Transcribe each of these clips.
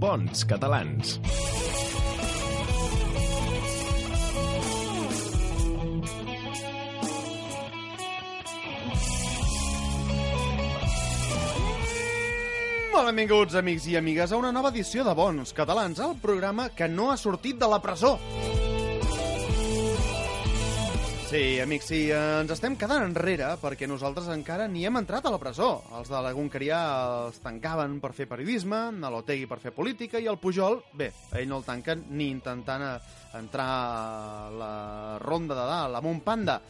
Bons catalans. Molt benvinguts, amics i amigues, a una nova edició de Bons Catalans, el programa que no ha sortit de la presó. Sí, amics, sí, ens estem quedant enrere perquè nosaltres encara ni hem entrat a la presó. Els de la Goncaria els tancaven per fer periodisme, a l'Otegui per fer política i el Pujol, bé, a ell no el tanquen ni intentant eh, entrar a la ronda de dalt, amb un panda.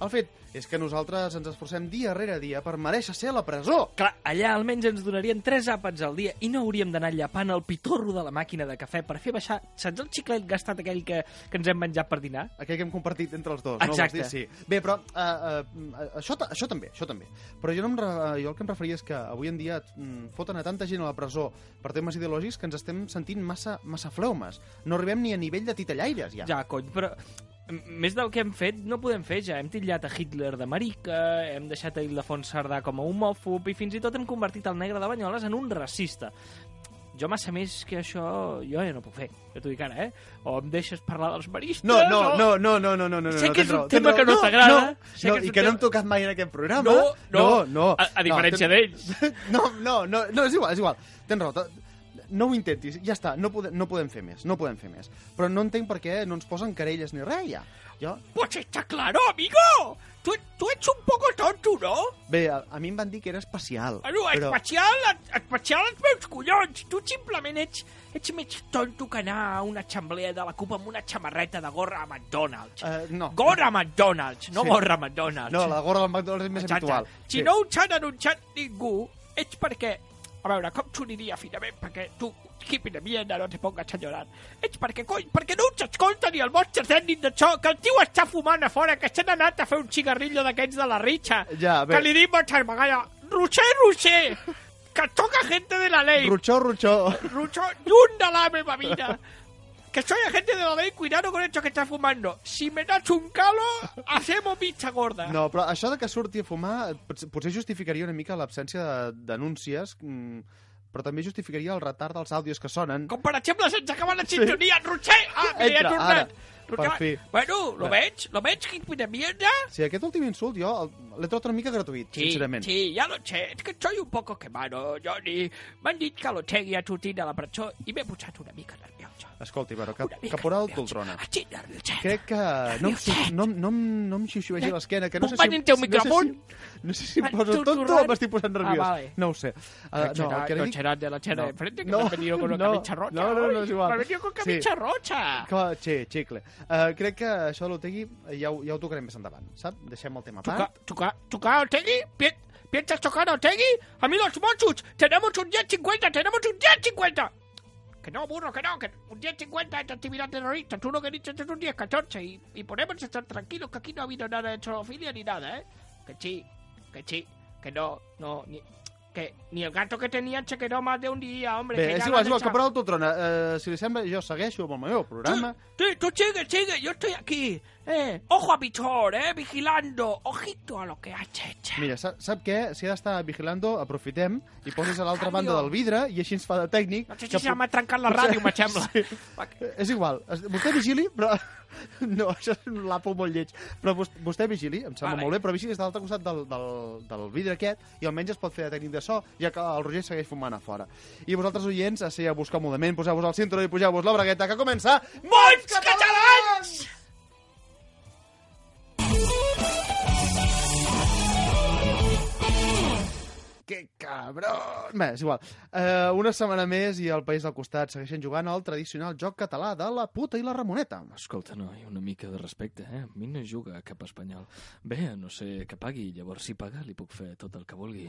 El fet és que nosaltres ens esforcem dia rere dia per mereixer ser a la presó. Clar, allà almenys ens donarien tres àpats al dia i no hauríem d'anar llapant el pitorro de la màquina de cafè per fer baixar, saps el xiclet gastat aquell que, que ens hem menjat per dinar? Aquell que hem compartit entre els dos, Exacte. no? Vols dir? Sí. Bé, però uh, uh, això, ta- això també, això també. Però jo, no em, re- eh, jo el que em referia és que avui en dia mm, foten a tanta gent a la presó per temes ideològics que ens estem sentint massa, massa fleumes. No arribem ni a nivell de titellaires, ja. Ja, cony, però m- més del que hem fet no podem fer ja. Hem titllat a Hitler de marica, hem deixat a Ildefons Cerdà com a homòfob i fins i tot hem convertit el negre de Banyoles en un racista. Jo massa més que això jo ja no puc fer. Jo t'ho dic ara, eh? O em deixes parlar dels maristes... No, o- no, no, no, no, no, no, no. Sé no, que és tens un raó, tema tens que no raó. t'agrada, sé No, que no, és i un que no tema- hem tocat mai en aquest programa. No, no, no. no. A, a diferència no, d'ells. No, no, no, no, és igual, és igual. Tens raó. te- No ho intentis, ja està, no podem, no podem fer més, no podem fer més. Però no entenc per què no ens posen querelles ni res, ja. Jo... Pues está claro, amigo. Tú, tú ets un poco tonto, no? Bé, a, a mi em van dir que era especial. Bueno, però... Ah, especial, especial els meus collons. Tu simplement ets, ets més tonto que anar a una xamblea de la CUP amb una xamarreta de gorra a McDonald's. Eh, no. Gorra a McDonald's, no Sí. sí. gorra a McDonald's. No, la gorra del McDonald's és més Exacte. habitual. Si sí. no ho s'ha denunciat ningú, és perquè... A veure, com s'ho diria finament perquè tu, hippie de mierda, no te pongas a llorar. És perquè, coi, perquè no ens escolta ni el Monster Zen ni d'això, que el tio està fumant a fora, que s'han anat a fer un cigarrillo d'aquests de la Richa. Ja, bé. que li dic moltes vegades, Roger, Roger, que toca gente de la ley. Ruchó, ruchó. Rucho, lluny de la meva vida. Que soy agente de la ley, cuidado con esto que está fumando. Si me das un calo, hacemos pizza gorda. No, però això de que surti a fumar potser, potser justificaria una mica l'absència de- d'anúncies, mm, però també justificaria el retard dels àudios que sonen. Com per exemple se'ns acaba la sintonia, sí. Roger! Ah, que ja Entra, ha tornat! ara, Roger, per fi. Bueno, lo Bé. veig, lo veig, hippie de mierda. Sí, aquest últim insult jo el- l'he trobat una mica gratuït, Sí, sincerament. sí, ja lo sé, és que soy un poco quemado, Johnny. M'han dit que lo tegui a sortir de la presó i m'he posat una mica nerviosa. Escolti, però, cap, Una mica Ah, caporal nerviosa. Poltrona. Estic nerviosa. Crec que no em, su- no, em- no, em- no em xiuxiuegi l'esquena, que no sé si... Company, teu no sé microamunt. si- No sé si em Van poso tonto o susurrant. m'estic posant nerviós. Ah, vale. No ho sé. Uh, no, será- no será de la chera de frente que no, me has venido con la no, camisa roja. No, no, no, és igual. Me has venido con camisa roja. Que, sí, xicle. Uh, crec que això de l'Otegui ja, ho- ja ho tocarem més endavant, sap? Deixem el tema a Toca, part. toca, toca a Otegui. Pi- ¿Piensas tocar a Otegui? Amigos mochos, tenemos un 1050, tenemos un 1050. Que no, burro, que no, que un 1050 es actividad terrorista. Tú lo que dices es un 1014 y, y podemos estar tranquilos que aquí no ha habido nada de zoofilia ni nada, ¿eh? Que sí, que sí, que no, no, ni, que ni el gato que tenían se quedó más de un día, hombre. Bé, que és ya lo igual, és igual, han caporal Poltrona. Uh, si li sembla, jo segueixo amb el meu programa. Tú, tú sigue, sigue, yo estoy aquí. Eh, ojo a Pichor, eh, vigilando. Ojito a lo que hace. che. Mira, sap, sap què? Si ha d'estar vigilando, aprofitem i poses a l'altra Cambio. banda del vidre i així ens fa de tècnic. No sé si se que pot- llama trencar la ràdio, me sembla. Sí. És igual. Es- Vostè vigili, però... No, això és un lapo molt lleig. Però vos- vostè vigili, em sembla Vale. molt bé, però vigili des de l'altre costat del, del, del vidre aquest i almenys es pot fer de tècnic de so, ja que el Roger segueix fumant a fora. I vosaltres, oients, a ser a buscar mudament, poseu-vos el cinturó i poseu-vos la bragueta, que comença... Bons catalans! Que cabron! Bé, és igual. Uh, una setmana més i al País del Costat segueixen jugant al tradicional joc català de la puta i la Ramoneta. Escolta, noi, una mica de respecte, eh? A mi no juga a cap espanyol. Bé, a no sé que pagui, llavors si paga li puc fer tot el que vulgui.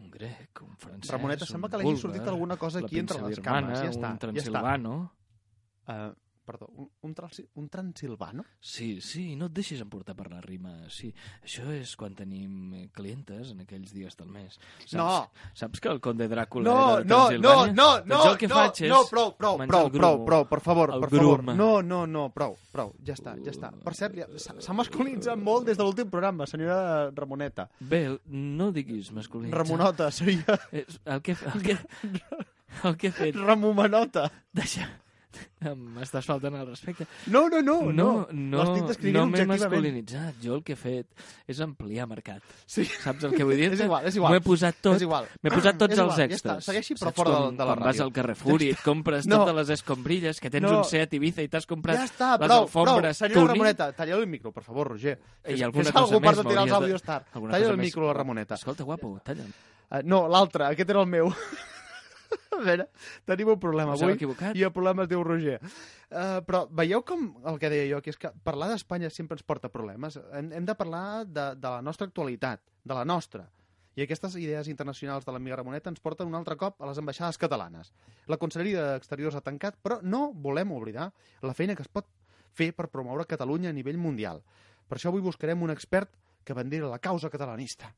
Un grec, un francès, Ramoneta, un sembla que l'hagi búlgar, sortit alguna cosa la aquí entre pinça les birmana, cames, ja està, un ja està. transilvano... Uh, perdó, un, un, transi, un transilvano? Sí, sí, no et deixis emportar per la rima. Sí, això és quan tenim eh, clientes en aquells dies del mes. Saps, No. Saps que el conde Dràcula No, era de no, no, Transilvània? no, Doncs jo no, el que no, faig és no, prou, prou, menjar prou, el prou, grumo. prou, per favor, El per favor. grum. No, no, no, prou, preu, ja està, ja està. Per cert, ja- s'ha s'ha masculinitzat molt des de l'últim programa, senyora Ramoneta. Bé, no diguis masculinitzar. Eh, Ramonota, seria... És El que, el que, El que he fet... Ramomenota. Deixa... M'estàs faltant al respecte. No, no, no. No, no, L'estic descrivint no m'he objectivament. masculinitzat. Jo el que he fet és ampliar mercat. Sí. Saps el que vull dir? És igual, és igual. M'ho he posat tot. És igual. M'he posat tots És igual, els ja extras. està. Segueixi, però Saps fora com, de- de la quan vas ràdio. al Carrefour i et compres No. totes les escombrilles, que tens No. un Seat Ibiza i t'has comprat Ja està, les prou, prou. alfombres Senyora Tuning. Ramoneta, talleu el micro, per favor, Roger. I Que és- alguna que és cosa algú més per tirar els m'hauries de- àudios tard. alguna Talla cosa el més. micro, la Ramoneta. Escolta, guapo, talla'm. Eh, no, l'altre, aquest era el meu. A veure, tenim un problema Us heu avui equivocat? i el problema es diu Roger. Uh, però veieu com el que deia jo, que és que parlar d'Espanya sempre ens porta problemes. Hem, hem de parlar de, de la nostra actualitat, de la nostra. I aquestes idees internacionals de l'amiga Ramoneta ens porten un altre cop a les ambaixades catalanes. La Conselleria d'Exteriors ha tancat, però no volem oblidar la feina que es pot fer per promoure Catalunya a nivell mundial. Per això avui buscarem un expert que vendera la causa catalanista.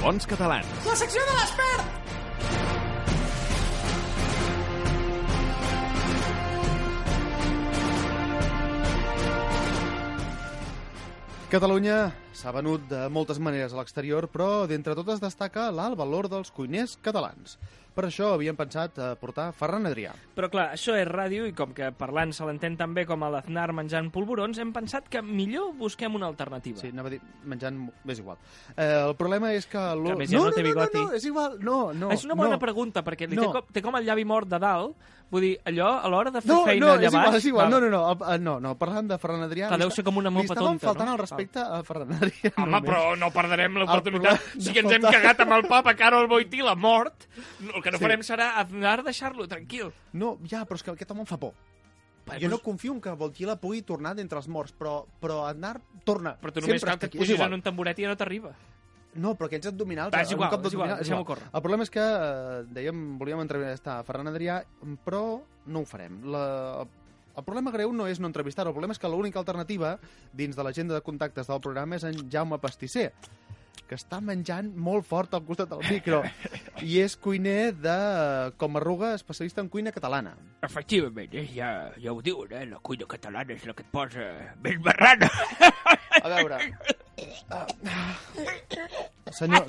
Bons catalans. La secció de l'expert! Catalunya s'ha venut de moltes maneres a l'exterior, però d'entre totes destaca l'alt valor dels cuiners catalans. Per això havíem pensat eh, portar Ferran Adrià. Però clar, això és ràdio i com que parlant se l'entén tan bé com a l'Aznar menjant polvorons, hem pensat que millor busquem una alternativa. Sí, anava a dir, menjant... és igual. Eh, el problema és que... l'o- Que a més ja no té no, bigoti. no, és igual, no, no. és una bona no. pregunta, perquè li No. té, com, té com el llavi mort de dalt. Vull dir, allò, a l'hora de fer No, feina no, allà és igual, baix... és igual. No, val. no, no, el- eh, no, no, parlant de Ferran Adrià... Clar, li deu esta- ser com una Li mopa estàvem tonta, faltant no? al respecte a Ferran Adrià. Home, només. però no perdrem El l'oportunitat. problema- Sí que ens hem no. cagat amb el papa Carol Boitila mort. No, El que no farem serà Aznar, deixar-lo tranquil. No, ja, però és que aquest home em fa por. Però jo és- no confio en que Voltila pugui tornar d'entre els morts, però, però Aznar torna. Però tu només Sempre cal està que aquí. et És posis igual. en un tamboret i ja no t'arriba. No, però aquests abdominals... Va, és un igual, cop és igual, d'abdominal- deixem-ho córrer. El problema és que, eh, dèiem, volíem entrevistar Ferran Adrià, però no ho farem. La... El problema greu no és no entrevistar el problema és que l'única alternativa dins de l'agenda de contactes del programa és en Jaume Pastisser, que està menjant molt fort al costat del micro i és cuiner de eh, Comarruga, especialista en cuina catalana. Efectivament, eh? ja, ja ho diuen, eh? la cuina catalana és la que et posa més barrana. A veure... Ah. Senyor,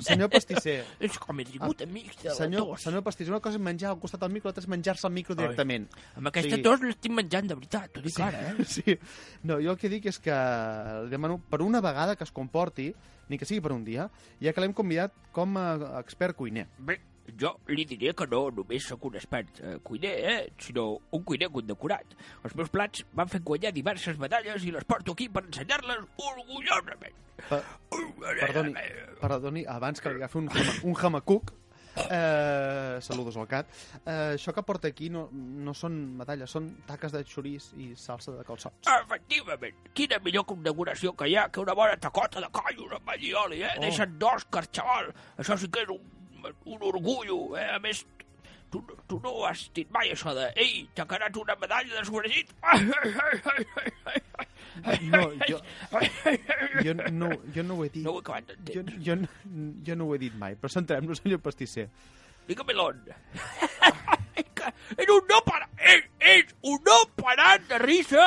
Ah. senyor Pastisser, Ah, és com el ligut, amics de la senyor, tos. senyor Pastisser, una cosa és menjar al costat del micro, l'altra és menjar-se al micro directament. Amb aquesta Sí. tos l'estic menjant, de veritat, t'ho dic ara, eh? Sí. No, jo el que dic és que li demano per una vegada que es comporti, ni que sigui per un dia, ja que l'hem convidat com a expert cuiner. Bé, jo li diré que no només sóc un expert eh, cuiner, eh? sinó un cuiner condecorat. Els meus plats m'han fet guanyar diverses medalles i les porto aquí per ensenyar-les orgullosament. Per, perdoni, perdoni, abans que li agafi un, hama, un hamacuc, eh, saludos al cat, eh, això que porta aquí no, no són medalles, són taques de xorís i salsa de calçots. Efectivament, quina millor condecoració que hi ha que una bona tacota de callos amb allioli, eh? Oh. Deixen dos carxaval. Això sí que és un, un orgullo, eh? A més, tu, tu no has dit mai això de ei, t'ha quedat una medalla de sofregit. No, jo, jo, no, jo no ho he dit. No ho he acabat jo, d'entendre. jo, jo no ho he dit mai, però centrem-nos, senyor pastisser. Dígame l'on. Era un no parar. És, és un no parat de risa.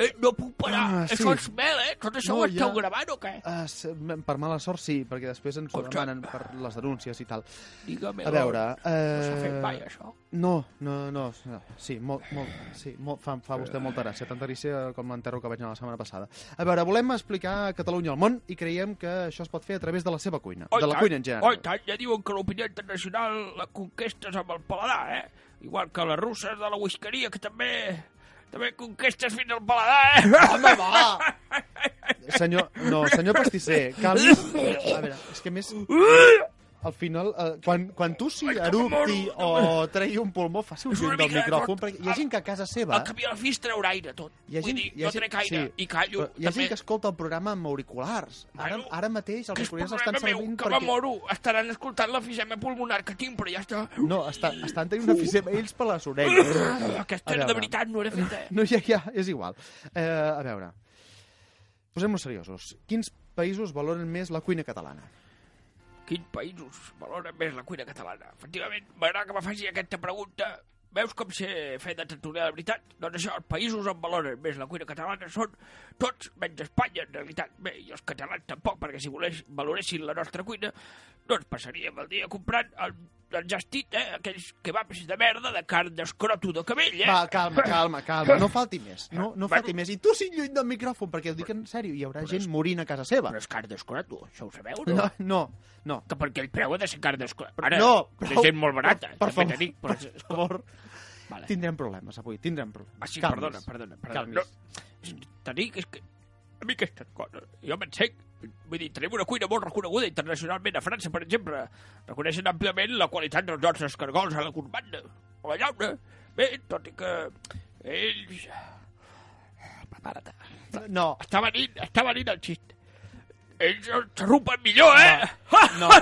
Eh, no puc parar. Ah, Ah, sí. sí. Això és mel, eh? Tot això No, no, ho esteu ja. ja... gravant o què? Uh, per mala sort sí, perquè després ens ho Cotxe. demanen per les denúncies i tal. Dígame A veure... No s'ha fet mai, Eh... això. No, no, no, no, sí, molt, molt, sí, molt, fa, fa vostè molta gràcia, tanta gràcia com l'enterro que vaig anar la setmana passada. A veure, volem explicar Catalunya al món i creiem que això es pot fer a través de la seva cuina, Oi, de la tant, cuina en Oi, general. tant, ja diuen que l'opinió internacional la conquestes amb el paladar, eh? Igual que les russes de la whiskeria, que també... També conquestes fins al paladar, eh? Home, va! Senyor, no, senyor pastisser, calmi. A veure, és que a més... Al final, eh, quan, quan tu si eructi o tregui un pulmó, faci un És una lluny del mica micròfon, tot. perquè hi ha gent que a casa seva... El camí al fi es treurà aire, tot. Hi ha gent, Vull dir, hi ha no trec aire sí, i callo. però Hi ha també. gent que escolta el programa amb auriculars. Ara, Bueno, ara mateix els que és auriculars problema estan meu, servint que perquè... m'amoro. Estaran escoltant l'efisema pulmonar que tinc, però ja està. No, estan, estan tenint una fisema ells per les orelles. Aquesta A era veure. de veritat, no era feta. No, ja, ja, és igual. Eh, a veure, posem-nos seriosos. Quins països valoren més la cuina catalana? Quins països valoren més la cuina catalana? Efectivament, m'agrada que me faci aquesta pregunta Veus com sé fer de tertulià de veritat? Doncs això, els països on valoren més la cuina catalana són tots, menys Espanya, en realitat. Bé, i els catalans tampoc, perquè si volés, valoressin la nostra cuina, no ens passaríem el dia comprant el, el gestit, eh? aquells kebabs de merda, de carn d'escroto de cabell, eh? Va, calma, calma, calma, no falti més. No, no falti més. I tu sí lluny del micròfon, perquè ho dic en sèrio, hi haurà gent morint a casa seva. Però és carn d'escroto, això ho sabeu, no? No, no, no. Que perquè el preu ha de ser carn d'escroto. Ara, No, és prou. gent molt barata, Per també favor, t'he dit, però... Per favor, Vale. tindrem problemes avui, tindrem problemes. Ah, sí, Calmis. perdona, perdona, perdona. Calmis. No, te dic, és que a mi aquestes coses, jo m'encenc. Vull dir, tenim una cuina molt reconeguda internacionalment. A França, per exemple, reconeixen àmpliament la qualitat dels nostres cargols a la corbanda, a la llauna. Bé, tot i que ells... Prepara't. No, Està venint, està venint el xist. Ells s'arrupen millor, eh? no,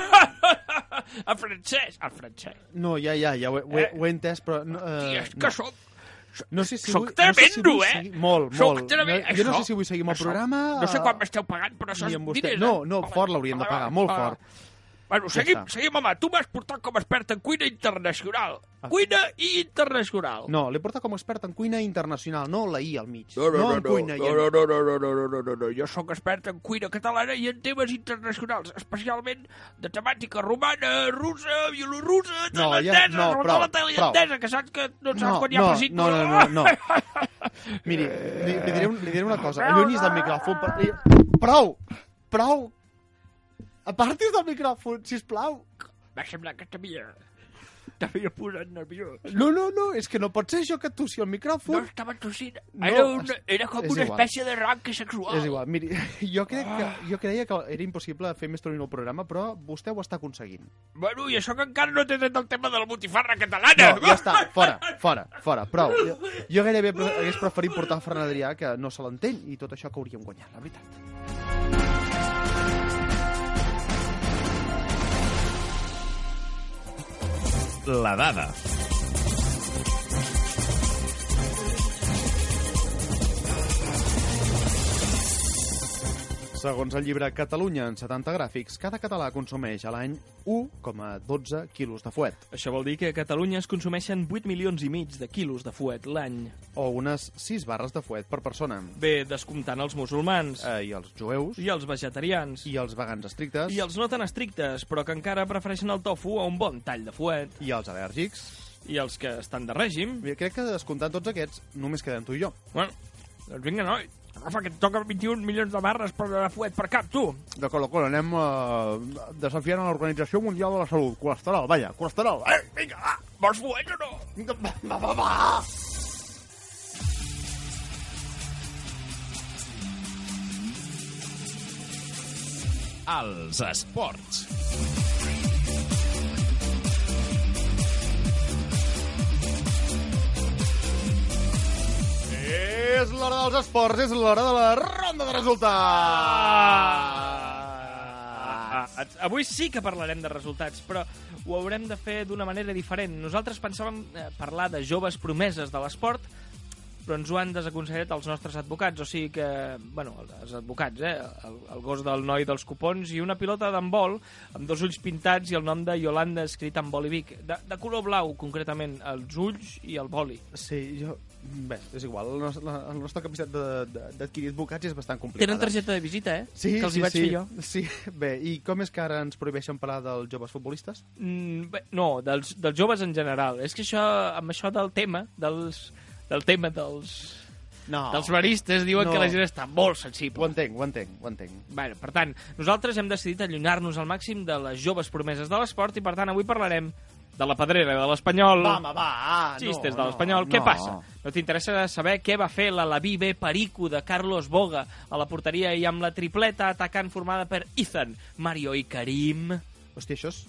A francès, al francès. no, ja, ja, ja ho, he- ho, he- ho he entès, però... No, Uh, eh, Eh, és que sóc no sé si Soc vull, no sé si tremendo, vull eh? seguir, molt, Soc molt. tremendo. No, jo no Això- sé si vull seguir amb el això- programa... eh, No sé quan m'esteu pagant, però això ni és amb vostè. diners, No, eh? no, Home, fort l'hauríem de home, pagar, home. molt fort. Bueno, Ja seguim, està. seguim, home. Tu m'has portat com a expert en cuina internacional. Ah. Cuina i internacional. No, l'he portat com a expert en cuina internacional, no la I al mig. No, no, en no, cuina i no, en... no, no, no, no, no, no, no, no, no. Jo sóc expert en cuina catalana i en temes internacionals, especialment de temàtica romana, russa, bielorussa, No, ja- tailandesa, no, prou, romana, tailandesa, que saps que no saps No, quan hi ha no, pessic. no, no, no, no. Miri, li, li, diré, un, li diré una cosa. Allunyis del micròfon. Per... li- Prou! Prou! Apartis del micròfon, si plau. M'ha semblat que t'havia... T'havia posat nerviós. No, no, no, és que no pot ser jo que tossi el No micròfon. estava tossint. No, era, una, es- era com és una igual. espècie de ranque sexual. És igual, miri, jo, crec que, Ah. jo creia que era impossible fer més tornint el programa, però vostè ho està aconseguint. Bueno, i això que encara no t'he tret el tema de la botifarra catalana. No, ja està, fora, fora, fora, prou. Jo, jo gairebé pre- hagués preferit portar Ferran Adrià, que no se l'entén, i tot això que hauríem guanyat, la veritat. La dada. Segons el llibre Catalunya en 70 gràfics, cada català consumeix a l'any 1,12 quilos de fuet, Això vol dir que a Catalunya es consumeixen 8 milions i mig de quilos de fuet l'any. o unes 6 barres de fuet per persona. Bé, descomptant els musulmans, Eh, I els jueus, i els vegetarians, i els vegans estrictes, i els no tan estrictes, però que encara prefereixen el tofu a un bon tall de fuet, i els al·lèrgics. i els que estan de règim... Mira, crec que descomptant tots aquests, només quedem tu i jo. Bueno, doncs vinga, noi, agafa que et toca 21 milions de barres per de fuet per cap, tu! De col a col, anem eh, desafiant a l'Organització Mundial de la Salut. Colesterol, vaja, colesterol. Eh, vinga, va! Vols fuet o no? Va, va, va, va! Els esports. És l'hora dels esports, és l'hora de la ronda de resultats! Ah, avui sí que parlarem de resultats, però ho haurem de fer d'una manera diferent. Nosaltres pensàvem eh, parlar de joves promeses de l'esport, però ens ho han desaconsellat els nostres advocats, o sigui que, bueno, els advocats, eh? El, el gos del noi dels cupons i una pilota d'handbol amb dos ulls pintats i el nom de Yolanda escrit amb boli Vic. De, de color blau, concretament, els ulls i el boli. Sí, jo... Bé, és igual, la, nos- la, la nostra capacitat de- de- d'adquirir advocats és bastant complicada. Tenen targeta de visita, eh? sí, que els sí, hi vaig sí. fer jo. Sí, bé, i com és que ara ens prohibeixen parlar dels joves futbolistes? Mm, bé, no, dels, dels joves en general. És que això, amb això del tema, dels, del tema dels, No. dels baristes, diuen No. que la gent està molt Ho sensible. entenc, ho entenc, ho entenc. Bueno, per tant, nosaltres hem decidit allunyar-nos al màxim de les joves promeses de l'esport i, per tant, avui parlarem de la pedrera de l'Espanyol, Vamos, va, ah, no, xistes de no, l'Espanyol. no. Què passa? No t'interessa saber què va fer la Laví B Perico de Carlos Boga a la porteria i amb la tripleta atacant formada per Ethan, Mario i Karim... Hòstia, això és...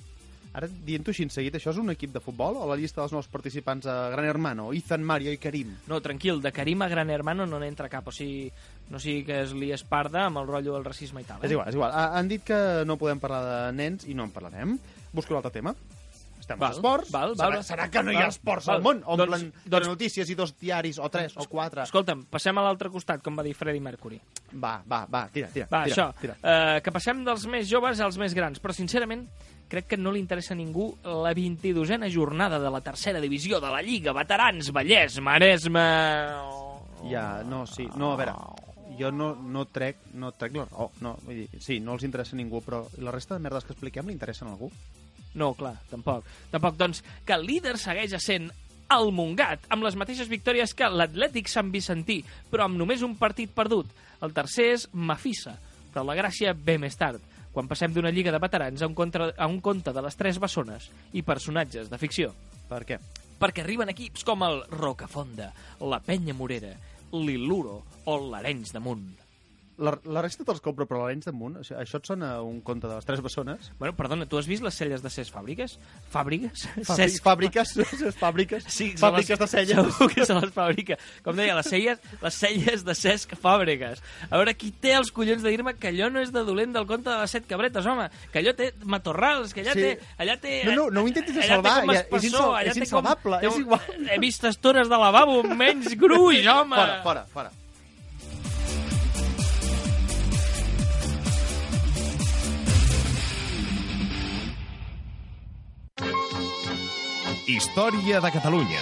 Ara, dient-ho així en seguit, això és un equip de futbol o la llista dels nous participants a Gran Hermano, Ethan, Mario i Karim? No, tranquil, de Karim a Gran Hermano no n'entra cap, o sigui, no sigui que es li esparda amb el rotllo del racisme i tal. Eh? Ah, És igual, és igual. Ha- Han dit que no podem parlar de nens i no en parlarem. Busco un altre tema. estem Val, als esports. val, val, serà, val. serà que no hi ha Val, esports val. al món? Doncs- Omplen doncs, doncs- notícies i dos diaris, o tres, o quatre. Escolta'm, passem a l'altre costat, com va dir Freddie Mercury. Va, va, va, tira, tira. Va, tira, això. Tira. Eh, que passem dels més joves als més grans. Però, sincerament, crec que no li interessa a ningú la 22a jornada de la tercera divisió de la Lliga Veterans Vallès Maresme. Ja, no, sí. No, a veure, jo no, no trec, no trec la raó. No, vull dir, sí, no els interessa a ningú, però la resta de merdes que expliquem li interessen a algú? No, clar, tampoc. Tampoc, doncs, que el líder segueix sent el Montgat, amb les mateixes victòries que l'Atlètic Sant Vicentí, però amb només un partit perdut. El tercer és Mafissa, però la gràcia ve més tard, quan passem d'una lliga de veterans a un, contra, a un conte de les tres bessones i personatges de ficció Per què? perquè arriben equips com el Rocafonda, la Penya Morera, l'Iluro o l'Arenys de Munt. La, la resta te'ls compro, però l'Arenys de Munt, això, això et sona a un conte de les tres bessones? Bueno, perdona, tu has vist les celles de Cesc Fàbriques? Fàbriques? Fabri fàbriques, ses fàbriques, Sí, se fàbriques les- de celles. Segur que se les fabrica. Com deia, les celles, les celles de Cesc Fàbregas. A veure, qui té els collons de dir-me que allò no és de dolent del conte de les set cabretes, home? Que allò té matorrals, que allà Sí. té... Allà té No, no, no ho intentis allà té salvar, com ja- és espessor, insal- allà és té com- insalvable, té és un- igual. He vist estores de lavabo, menys gruix, home! Fora, fora, fora. Història de Catalunya.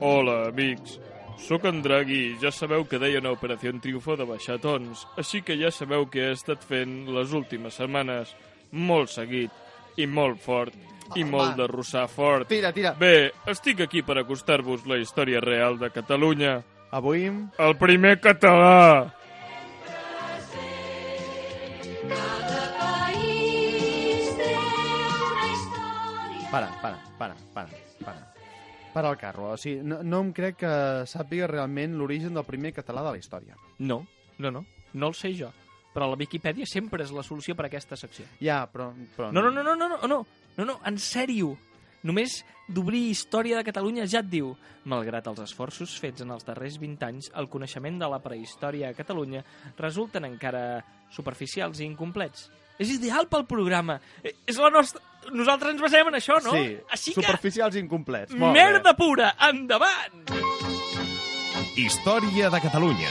Hola, amics. Sóc en Draghi i ja sabeu que deien a Operació Triunfo de baixar tons, així que ja sabeu què he estat fent les últimes setmanes. Molt seguit, i molt fort, i Home. molt de russar fort. Tira, tira. Bé, estic aquí per acostar-vos la història real de Catalunya. Avui... El primer català! Para, para, para, para, para. Para el carro. O sigui, no, no em crec que sàpiga realment l'origen del primer català de la història. No, no, no. No el sé jo. Però la Viquipèdia sempre és la solució per a aquesta secció. Ja, però... però No, no, no, no, no, no, no, no, no en sèrio. Només d'obrir Història de Catalunya ja et diu malgrat els esforços fets en els darrers 20 anys, el coneixement de la prehistòria a Catalunya resulten encara superficials i incomplets. És ideal pel programa. Eh, És la nostra... Nosaltres ens basem en això, no? Sí, Així que... superficials incomplets. Molt bé. Merda pura! Endavant! Història de Catalunya.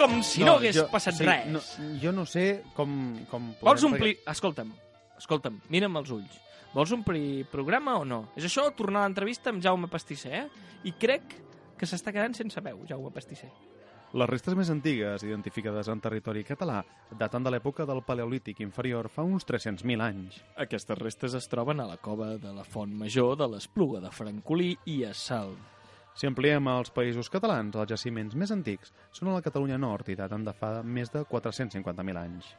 Com si no, hagués passat sí, res. No, jo no sé com... com Vols podem- omplir... Escolta'm, escolta'm, mira'm els ulls. Vols omplir programa o no? És això, tornar a l'entrevista amb Jaume Pastisser, eh? I crec que s'està quedant sense veu, Jaume Pastisser. Les restes més antigues, identificades en territori català, daten de l'època del Paleolític inferior fa uns 300.000 anys. Aquestes restes es troben a la cova de la Font Major, de l'Espluga de Francolí i a Salt. Si ampliem als països catalans, els jaciments més antics són a la Catalunya Nord i daten de fa més de 450.000 anys.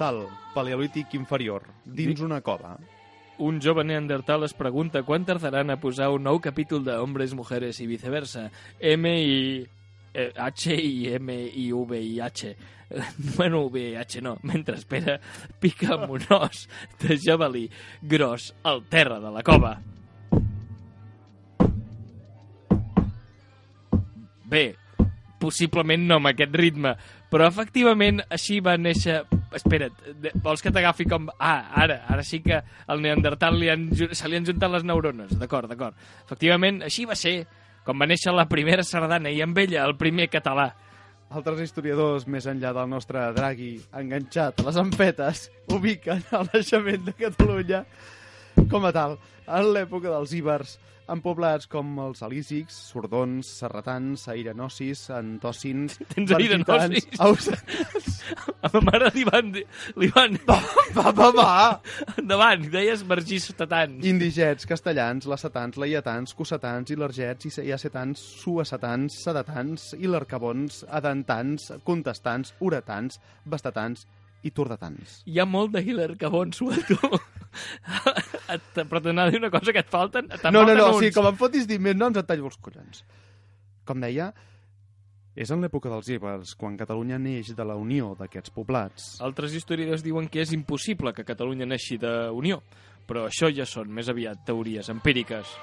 Sal, Paleolític inferior, dins una cova. Un jove neandertal es pregunta quan tardaran a posar un nou capítol de Hombres, Mujeres i viceversa. M i... eh, H i M i V i H. Bueno, V i H no. Mentre espera, pica amb un os de javelí gros al terra de la cova. Bé, possiblement no amb aquest ritme, però efectivament així va néixer... Espera't, de- vols que t'agafi com... Ah, ara, ara sí que al Neandertal li han, ju- se li han juntat les neurones. D'acord, d'acord. Efectivament, així va ser com va néixer la primera sardana i amb ella el primer català. Altres historiadors, més enllà del nostre Draghi, enganxat a les ampetes, ubiquen el naixement de Catalunya com a tal, en l'època dels íbers, en poblats com els alísics, sordons, serratans, airenocis, antòcins, Tens airenocis? ausentans... A ma mare li van... dir- Li van... Va, va, va! Endavant, deies vergís tatans. Indigets, castellans, lacetans, laietans, cossetans, ilergets, iacetans, suacetans, sedatans, ilarcabons, adentans, contestants, uretans, bastatans i tordetans. Hi ha molt de Hiller que bon suat, tu. Et- Però t'anava a dir una cosa que et falten. Te'n No, no, falten no, uns. sí, com em fotis dir més noms et tallo els collons. Com deia, És en l'època dels ibers, quan Catalunya neix de la unió d'aquests poblats. Altres historiadors diuen que és impossible que Catalunya neixi de Unió, però això ja són més aviat teories empíriques.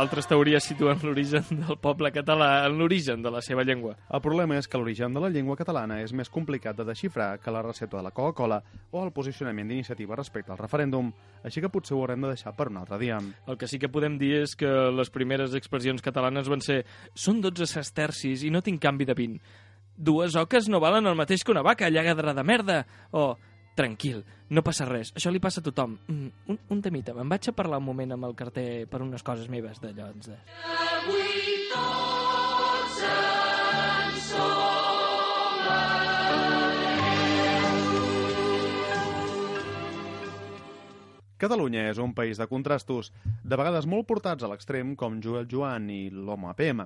Altres teories situen l'origen del poble català en l'origen de la seva llengua. El problema és que l'origen de la llengua catalana és més complicat de desxifrar que la recepta de la Coca-Cola o el posicionament d'iniciativa respecte al referèndum, així que potser ho haurem de deixar per un altre dia. El que sí que podem dir és que les primeres expressions catalanes van ser «Són 12 sestercis i no tinc canvi de 20». «Dues oques no valen el mateix que una vaca, llagadra de merda!» o «Tranquil, no passa res, això li passa a tothom». Mm, un, un temita, me'n vaig a parlar un moment amb el carter per unes coses meves d'allò. doncs, De... Catalunya és un país de contrastos, de vegades molt portats a l'extrem com Joel Joan i l'home APM.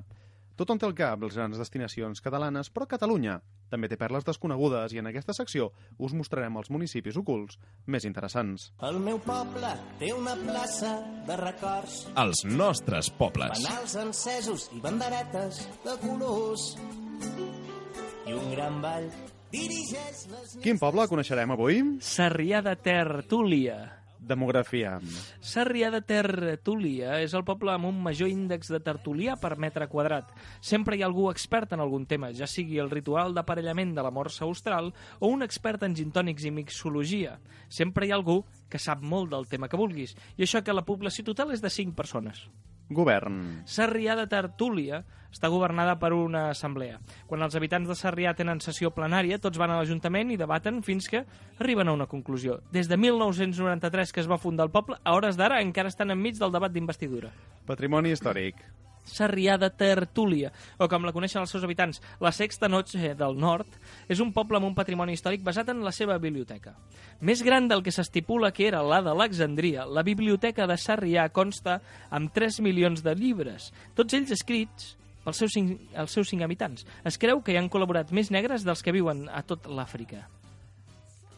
Tothom té al cap les grans destinacions catalanes, però Catalunya també té perles desconegudes i en aquesta secció us mostrarem els municipis ocults més interessants. El meu poble té una plaça de records, Els nostres pobles. fanals encesos i banderetes de colors. I un gran ball dirigeix les... Quin poble coneixerem avui? Sarrià de Tertúlia. Demografia. Sarrià de Tertúlia és el poble amb un major índex de tertulià per metre quadrat. Sempre hi ha algú expert en algun tema, ja sigui el ritual d'aparellament de la morsa austral o un expert en gintònics i mixologia. Sempre hi ha algú que sap molt del tema que vulguis, i això que la població total és de 5 persones. Govern. Sarrià de Tertúlia està governada per una assemblea. Quan els habitants de Sarrià tenen sessió plenària, tots van a l'Ajuntament i debaten fins que arriben a una conclusió. Des de 1993 que es va fundar el poble, a hores d'ara encara estan enmig del debat d'investidura. Patrimoni històric. Sarrià de Tertúlia, o com la coneixen els seus habitants, la Sexta Noche del Nord, és un poble amb un patrimoni històric basat en la seva biblioteca. Més gran del que s'estipula que era la d'Alexandria, la biblioteca de Sarrià consta amb 3 milions de llibres, tots ells escrits pels seus, cinc, els seus cinc habitants. Es creu que hi han col·laborat més negres dels que viuen a tot l'Àfrica.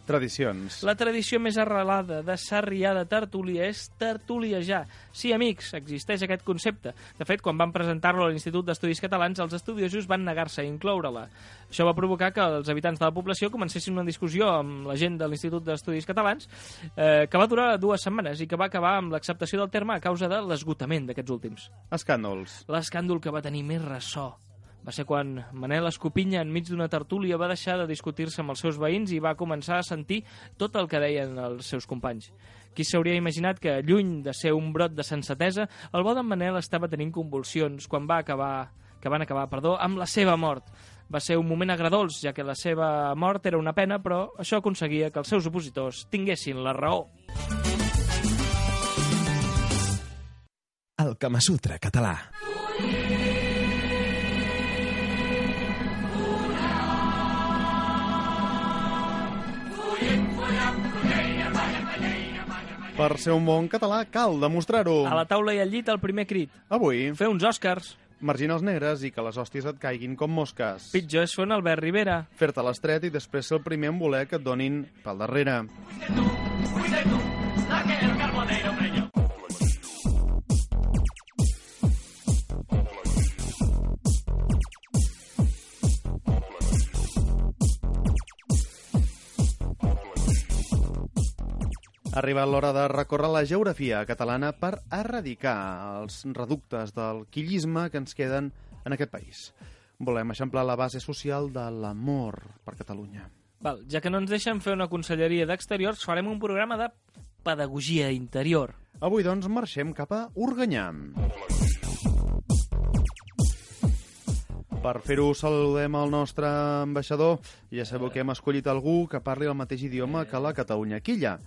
Tradicions. La tradició més arrelada de Sarrià de Tertúlia és tertuliejar. Sí, amics, existeix aquest concepte. De fet, quan van presentar-lo a l'Institut d'Estudis Catalans, els estudiosos van negar-se a incloure-la. Això va provocar que els habitants de la població comencessin una discussió amb la gent de l'Institut d'Estudis Catalans eh, que va durar dues setmanes i que va acabar amb l'acceptació del terme a causa de l'esgotament d'aquests últims. Escàndols. L'escàndol que va tenir més ressò va ser quan Manel Escopinya, enmig d'una tertúlia, va deixar de discutir-se amb els seus veïns i va començar a sentir tot el que deien els seus companys. Qui s'hauria imaginat que, lluny de ser un brot de sensatesa, el bo d'en Manel estava tenint convulsions quan va acabar que van acabar, perdó, amb la seva mort. Va ser un moment agradolç, ja que la seva mort era una pena, però això aconseguia que els seus opositors tinguessin la raó. El Kama Sutra català. Per ser un bon català cal demostrar-ho. A la taula i al llit, el primer crit. Avui, Fer uns Oscars. marginals negres i que les hòsties et caiguin com mosques. Pitjor és fer un Albert Rivera. Fer-te l'estret i després ser el primer en voler que et donin pel darrere. Ha arribat l'hora de recórrer la geografia catalana per erradicar els reductes del quillisme que ens queden en aquest país. Volem eixamplar la base social de l'amor per Catalunya. Val, ja que no ens deixen fer una conselleria d'exteriors, farem un programa de pedagogia interior. Avui, doncs, marxem cap a Organyà. Per fer-ho, saludem el nostre ambaixador. Ja sabeu que hem escollit algú que parli el mateix idioma que la Catalunya Quilla.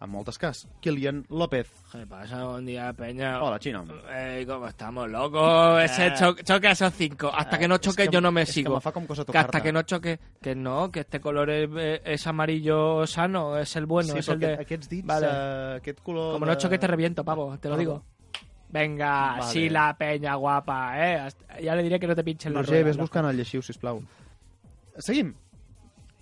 En moltes cas, Kilian López. ¿Qué pasa? Buen día, Peña. Hola, Xina. Ey, ¿cómo estamos, Eh. loco? Ese cho- choque a esos cinco. Hasta que no choque que- yo no me Ah, es que sigo. me fa com cosa Que hasta tocar-te. que no choque... Que no, que este color es, eh, es amarillo sano, es el bueno, sí, es però el de... aquest, aquests dits, Vale. vale. aquest color... Como no de... choque te reviento, pavo, te lo Perdón. digo. Venga, Vale. sí la peña guapa, eh. Hasta- Ya le diré que no te pinchen la Roger, rueda, ves loco. buscant el lleixiu, sisplau. Seguim.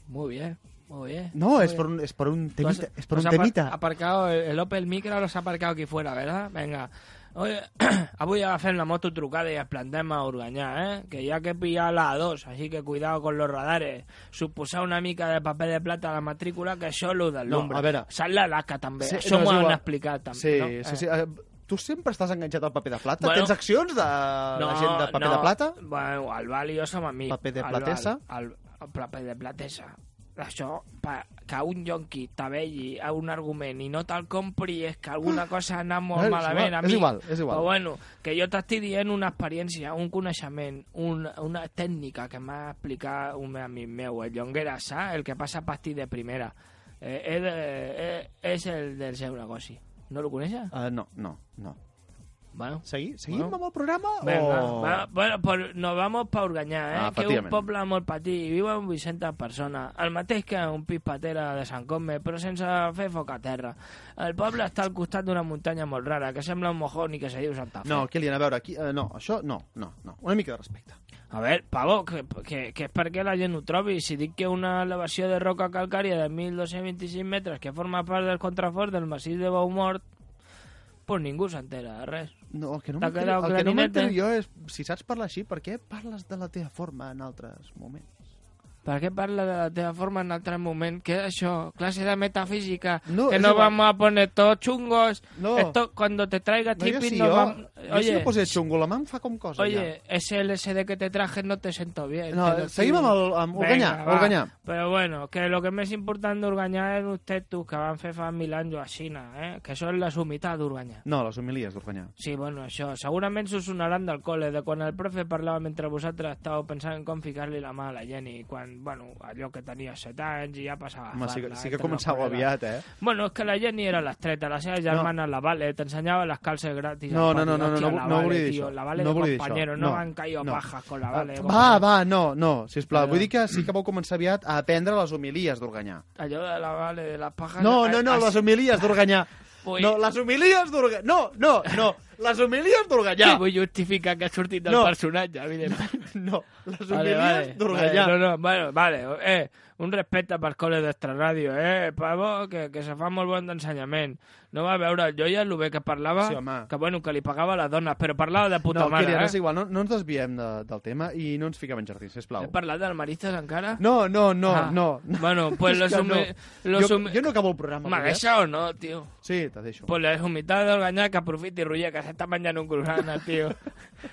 Muy bien, muy bien. No, és per un, és per un Tú has- temita. És per tú un has apar- temita. aparcado el, el Opel Micra los ha aparcado aquí fuera, ¿verdad? Venga. Oi, avui agafem la moto trucada i es plantem a Organyà, eh? Que hi ha que pillar la A2, així que cuidado con los radares. Suposar una mica de paper de plata a la matrícula, que això lo del No, lumbre. a veure. Sal la laca, també. Sí, Sí, això no, és m'ho han igual. explicat, també. Sí, no? sí, sí. Eh, Tu sempre estàs enganxat al paper de plata? Bueno. Tens accions de la gent de paper de plata? Bueno, el Val i jo som amics. Paper de El platesa? Val, El, el paper de platesa. Això, pa, que un yonqui t'avelli a un argument i no te'l compri és que alguna cosa ha anat molt Ah! És malament. a igual, és mi. igual, és igual. Però bueno, que jo t'estic dient una experiència, un coneixement, un, una tècnica que m'ha explicat un amic meu, el Llonguera Sá, el que passa pasti de primera. Eh, eh, eh, és el del seu negoci. ¿No lo coneixes? Uh, no, no, no. Bueno, Segui, seguim Bueno. amb el programa? Venga, o... va- bueno, por- nos vamos para Urgañá, ¿eh? Oh. Ah, que es un efectivament. poble molt petit i viuen 800 persones. El mateix que un pis patera de Sant Cosme, però sense fer foc a terra. El poble està al costat d'una muntanya molt rara, que sembla un mojón i que se diu Santa Fe. No, Kilian, a veure, aquí, uh, no, això no, no, no. Una mica de respecte. A veure, Pavo, que, que, que és perquè la gent ho trobi. Si dic que una elevació de roca calcària de 1.226 metres que forma part del contrafort del massís de Baumort, pues ningú s'entera de res. No, el que no T'ha m'entero quedat el que no clarinet, m'entero eh? jo és, si saps parlar així, per què parles de la teva forma en altres moments? Per què parla de la teva forma en altre moment? Què és això? Classe de metafísica. No, No, que és no igual. vamos a poner todos chungos. No. Esto, cuando te traiga No, jo tipping, si no jo, vamos... jo si Oye, em posé xungo, la mà em fa com cosa, oye, ese LSD que te traje no te sento bien. No, te lo seguim digo. amb el- amb Organyà, Venga, va. Organyà. Pero bueno, que lo que més important d'Urganyà és usted tus que van fer fa mil anys a Xina, eh? que això és la sumitat d'Urganyà. ja. No, les homilies d'Organyà. Sí, bueno, això. Segurament s'ho sonaran del col·le, de quan el profe parlava mentre vosaltres estàveu pensant en com ficar-li la mà a la Jenny, quan, bueno, allò que tenia 7 anys i ja passava Home, sí, que- farla sí que entre començava els col·legues. aviat, eh? Bueno, és que la Jenny era l'estreta, la seva germana, la Vale, t'ensenyava les calces gratis. No, al no, pati. no, no, Hòstia, no, la no vale, volia dir tio, això. La Vale No de volia dir compañero, això. no, No, van caído no. pajas con la Ah, Vale. Va, va, no, no, sisplau. Perdó. Vull dir que sí que vau començar aviat a aprendre les homilies d'Organyà. Allò de la Vale, de las pajas... No, no, no, As- les homilies d'Organyà. Vull- No, les homilies d'Organyà. No, no, no, les homilies d'Organyà. Sí, Vull justificar que ha sortit del No. personatge, evidentment. No, les Vale, vale, homilies d'Organyà. Vale, no, no, bueno, vale. Eh, un respecte per col·le d'Extra Ràdio, eh, Pavo, que, que se fa molt bon d'ensenyament. No va veure el Joia, el bé que parlava, Sí, home. que bueno, que li pagava a les dones, però parlava de puta No, mare, Kilian, eh? és igual, no, no ens desviem de, del tema i no ens fiquem en jardins, sisplau. He parlat d'almaristes encara? No, no, no, Ah. no. Bueno, pues És los que humi- no. los jo, humi- jo no acabo el programa. ¿Me Julià. deixa o no, tío? Sí, te deixo. Pues la humitat d'Organyà que aprofiti, Roger, que s'està menjant un croissant, tio.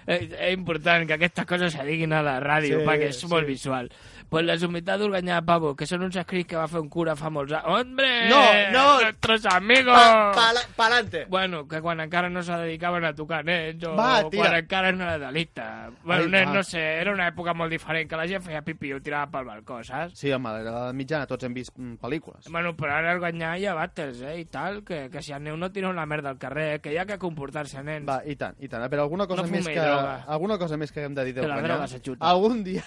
és, és important que aquestes coses se diguin a la ràdio, Sí, sí, perquè és sí. molt visual. Pues la humitat d'Organyà, Pavo, que són uns escrits que va fer un cura fa molts anys. Hombre! No, no! Nuestros amigos! Pa, pala- pa'lante. Bueno, que quan encara no se dedicaven a tocar nens o Va, tira. quan encara no era delicte. Bueno, Ai, Ai, nens, va. no sé, era una època molt diferent, que la gent feia pipi i ho tirava pel balcó, saps? Sí, home, a la mitjana tots hem vist mm, pel·lícules. Bueno, però ara Organyà hi ha vàters, eh, i tal, que, que si el neu no tira una merda al carrer, eh, que hi ha que comportar-se, nens. Va, i tant, i tant. A veure, Eh, alguna cosa, No més, fumeu que, droga. alguna cosa més que hem de dir Que la d'Organyà? droga s'ajuta. Algun dia...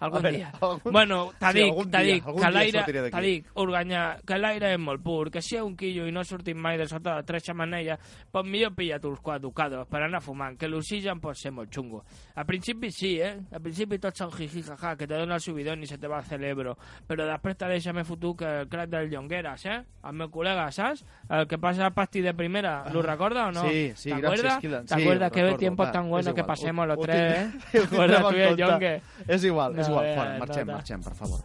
Algun A veure, dia. Algun... Bueno, t'ha Sí, sí, algun dic, t'ha dia, dic, algun que dia l'aire, sortiré d'aquí. t'ha dic, Organyà, que l'aire és molt pur, que si hi ha un quillo i no sortim mai de sota de tres xamanelles, pot millor pillar uns quadrucados per anar fumant, que l'oxigen pot ser molt xungo. Al principi sí, eh? Al principi tot són jiji, jaja, que te dona el subidón i se te va al cerebro, però després te deixa més fotut que el crack del Llongueras, eh? El meu col·lega, saps? El que passa a pasti de primera, Ah. ¿lo recorda o no? Sí, sí, ¿Te gracias, acuerdas? Kilan. ¿Te Sí, acuerdas lo que recuerdo, tiempos va, tan es buenos que igual. pasemos los Ho- ho tres, tindrem- eh? ho ¿Recuerdas tindrem tú en y el compte. Yongue? És igual, és No, igual. eh, Fora, no, marxem, no. marxem, per favor.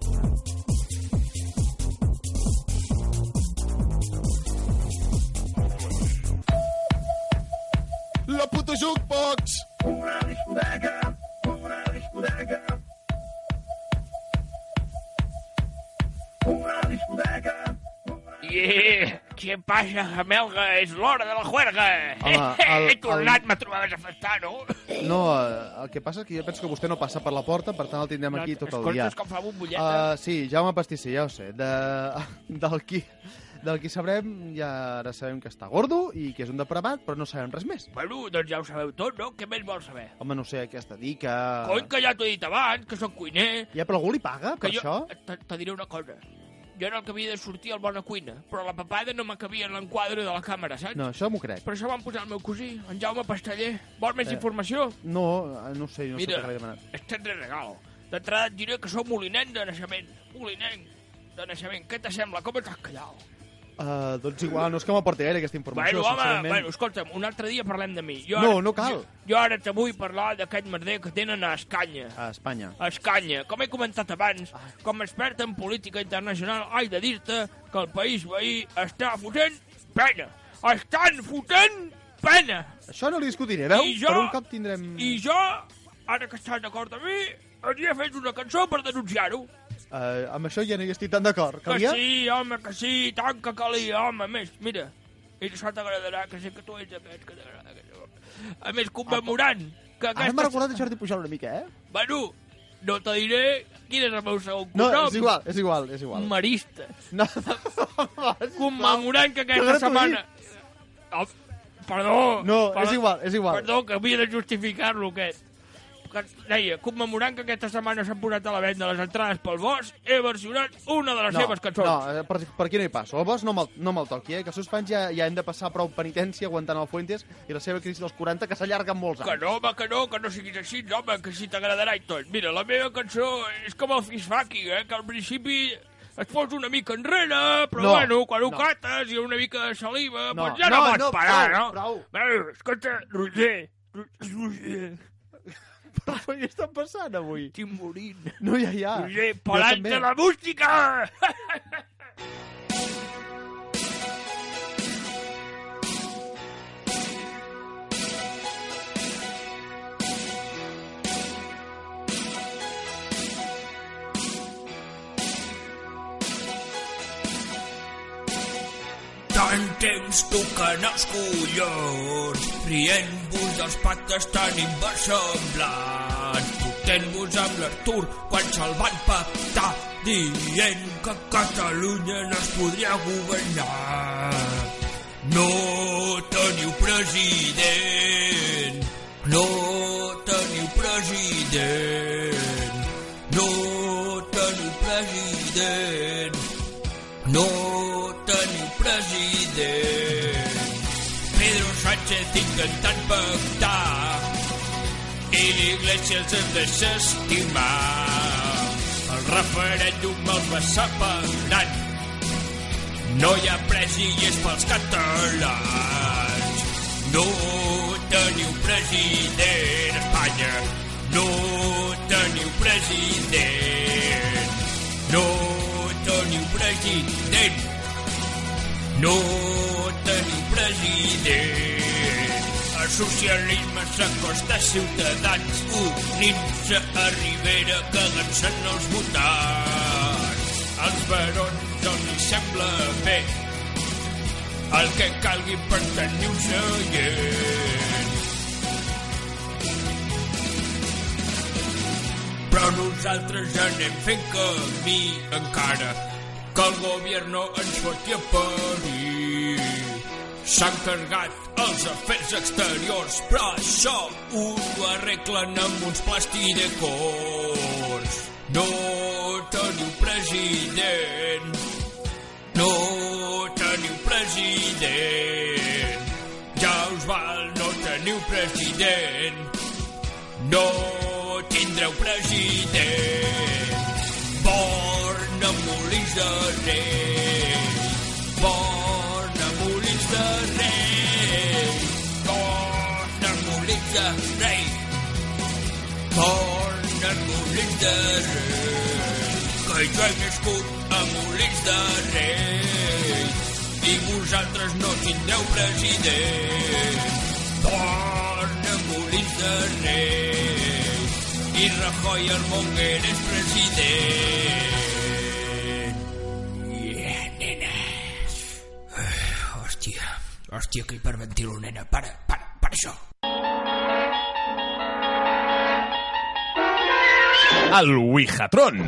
La puta jukebox! Yeah! Què passa, Melga? És l'hora de la juerga! Home, el- He tornat, me trobaves a festar, no? No, eh, el que passa és que jo penso que vostè no passa per la porta, per tant el tindrem Doncs aquí tot el dia. Escoltes com fa bombolleta? eh? Uh, sí, Jaume Pastisser, ja ho sé. De, del, qui, del qui sabrem, ja ara sabem que està gordo i que és un depravat, però no sabem res més. Bueno, doncs ja ho sabeu tot, no? Què més vols saber? Home, no sé, aquesta dir que... Coi, que ja t'ho he dit abans, que sóc cuiner, Ja, però algú li paga que per jo... això? Te, te diré una cosa. Jo era el que havia de sortir al Bona Cuina, però la papada no m'acabia en l'enquadre de la càmera, saps? No, això m'ho crec. Eh. Per això van posar el meu cosí, en Jaume Pasteller. Vols més informació? No, eh, no ho sé, no Mira. sé per què l'he demanat. Et tindré regal. D'entrada et diré que sou molinenc de naixement. Molinenc de naixement. Què te sembla? Com estàs callat? Uh, doncs igual, no és que m'aporti gaire aquesta informació, Bueno, home, sincerament. bueno, escolta'm, un altre dia parlem de mi. Jo No, ara, no cal. Jo, jo ara te vull parlar d'aquest merder que tenen a Escanya. A Espanya. A Escanya, com he comentat abans, com a expert en política internacional, haig de dir-te que el país veí està fotent pena. Estan fotent pena. Això no li discutiré, veu? I jo- Per un cop tindrem... I jo, ara que estàs d'acord amb mi, hauria fet una cançó per denunciar-ho. Eh, amb això ja no hi estic tan d'acord. Que Calia? sí, home, que sí, i tant que calia, home, a més, mira, i això t'agradarà, que sé que tu ets aquest, que t'agrada aquest home. A més, commemorant que Ah, Ara m'ha aquesta... recordat de Jordi Pujol una mica, eh? Bueno, no te diré quin és el meu segon No, cognom. és igual, és igual, és igual. Marista. No, home, Commemorant que Que aquesta gratuït. setmana... Oh, perdó. no, perdó, és igual, és igual. Perdó, que havia de justificar-lo, aquest. Que deia, commemorant que aquesta setmana s'han posat a la venda les entrades pel bosc, he versionat una de les no, seves cançons. no, eh, per, per aquí no hi passo. El boss no me'l no me toqui, eh? que els seus fans ja, ja hem de passar prou penitència aguantant el Fuentes i la seva crisi dels 40, que s'allarga molts Que anys. no, home, que no, que no siguis així, home, que si t'agradarà i tot. Mira, la meva cançó és com el Fisfaki, eh, que al principi es posa una mica enrere, però No, bueno, quan ho no. cates i una mica de saliva, No, doncs ja no, no, pots no, parar, prou, no? prou. Bueno, escolta, Roger, Ro- Roger, Però què està passant avui? estic morint. No, ja, ja. Roger, Jo també. parant-te la música! Tant temps tocant els collons, rient-vos dels pactes tan inversemblants, fotent-vos amb l'Artur quan se'l van pactar, dient que Catalunya no es podria governar. No teniu president, no teniu president, no teniu president. No teniu president. Pedro Sánchez intentant pactar i l'Iglésia els hem desestimar. El referèndum els va separant. No hi ha pres i és pels catalans. No teniu president, Espanya. No teniu president. No teniu president. No teniu president. El socialisme s'acosta a Ciutadans, unint-se a Rivera, cagant-se'n els votants. Els barons els hi sembla bé el que calgui per tenir un seient. però nosaltres anem fent camí encara que el govern ens foti a parir. S'han cargat els afers exteriors, però això ho arreglen amb uns plastidecors. No teniu president, no teniu president, ja us val, no teniu president. No tindreu president. Born a Molins de Rei. Born a Molins de Rei. Born a Molins de Rei. Born a Molins de Rei. Que jo he nascut a Molins de Rei. I vosaltres no tindreu president. Born a Molins de Rei. I Rajoy el Monger és president. Yeah, nenes. Ah, Hòstia, hòstia, que hiperventilo, nena. Para, para, para això. El Wihatron.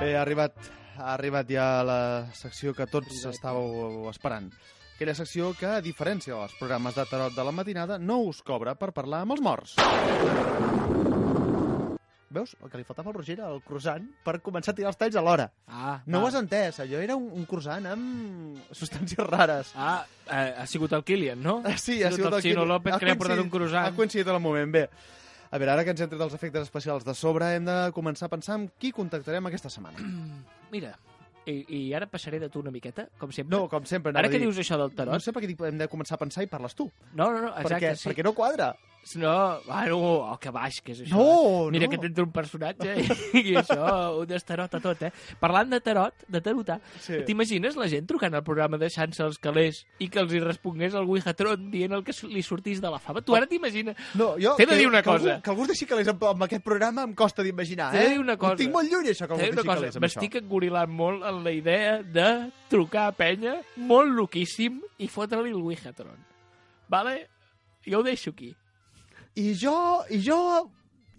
Bé, ha arribat, ha arribat ja la secció que tots estàveu esperant. Aquella secció que, a diferència dels programes de tarot de la matinada, no us cobra per parlar amb els morts. Veus? El que li faltava al Roger era el croissant per començar a tirar els talls a l'hora. Ah, No ah, ho has entès, allò era un, un croissant amb substàncies rares. Ah, eh, ha sigut el Kilian, no? Ah, Sí, ha sigut el Xino Quim- López que li ha portat coincidit- un croissant. Ha coincidit en el moment, bé. A veure, ara que ens hem tret els efectes especials de sobre, hem de començar a pensar amb qui contactarem aquesta setmana. Mira, i, i ara passaré de tu una miqueta, com sempre. No, com sempre, anava ara a que dir- dius això del No tarot... sé per què dic, hem de començar a pensar i parles tu. No, no, no, exacte. perquè, sí. perquè no quadra. No, bueno, oh, que baix que és això. eh? No, Mira no. que t'entra un personatge i, i això, un estarot a tot, eh? Parlant de tarot, de tarotar, Sí. t'imagines la gent trucant al programa deixant-se els calés i que els hi respongués el Wihatron dient el que su- li sortís de la fava? Tu ara t'imagines... No, jo... T'he de que- dir una que algú- cosa. Que algú es deixi calés amb, amb aquest programa em costa d'imaginar, eh? T'he de dir una cosa. Ho tinc molt lluny, això, que algú T'he es de dir deixi una calés cosa, amb això. m'estic engorilant molt en la idea de trucar a penya, molt loquíssim, i fotre-li el Wihatron. Vale? Jo ho deixo aquí. I jo... I jo...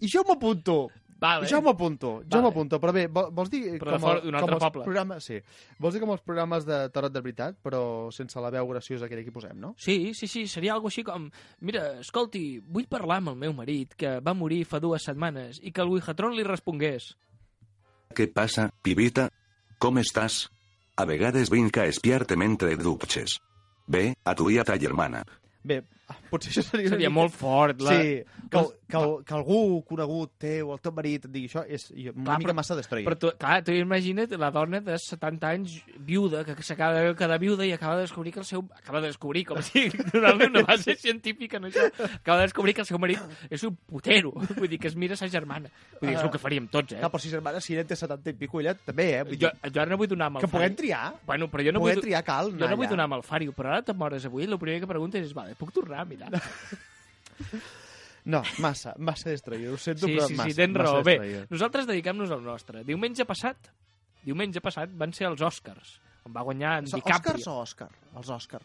I jo m'apunto. Vale. Jo m'apunto. Jo Vale. m'apunto. Però bé, vol- vols dir... Però de fora- d'un altre com els poble. Programes, sí. Vols dir com els programes de tarot de veritat, però sense la veu graciosa aquella que hi posem, no? Sí, sí, sí, seria algo així com... Mira, escolti, vull parlar amb el meu marit, que va morir fa dues setmanes, i que el Wihatron li respongués. Què passa, pibita? Com estàs? A vegades vinc a espiar-te mentre et dutxes. Bé, a tu i a ta germana. Bé, potser això seria... una ah, Seria mica- molt fort. La... Sí, que, que, que algú conegut teu, el teu marit, et digui això, és jo, una Clar, mica però- massa destroyer. Però tu, clar, tu imagina't la dona de 70 anys viuda, que s'acaba de quedar viuda i acaba de descobrir que el seu... Acaba de descobrir, com si donant-li una base científica, no això. Acaba de descobrir que el seu marit és un putero. Vull dir, que es mira sa germana. Vull dir, és el que faríem tots, eh? Clar, però si germana, si ell té 70 i pico, ella també, eh? Vull Jo, dir, jo ara no vull donar amb el que puguem Fari. triar. Bueno, però jo no Poder vull... triar cal anar Jo no vull allà. donar amb el Fari, però ara te'n mores avui i el primer que preguntes és, vale, puc tornar a mirar? No, massa, massa destroyer, ho sento, sí, però sí, massa. sí, tens massa raó. Bé, destroyer. nosaltres dediquem-nos al nostre. Diumenge passat, diumenge passat van ser els Oscars, on va guanyar en Són DiCaprio. Oscars o Òscar? Els Òscar.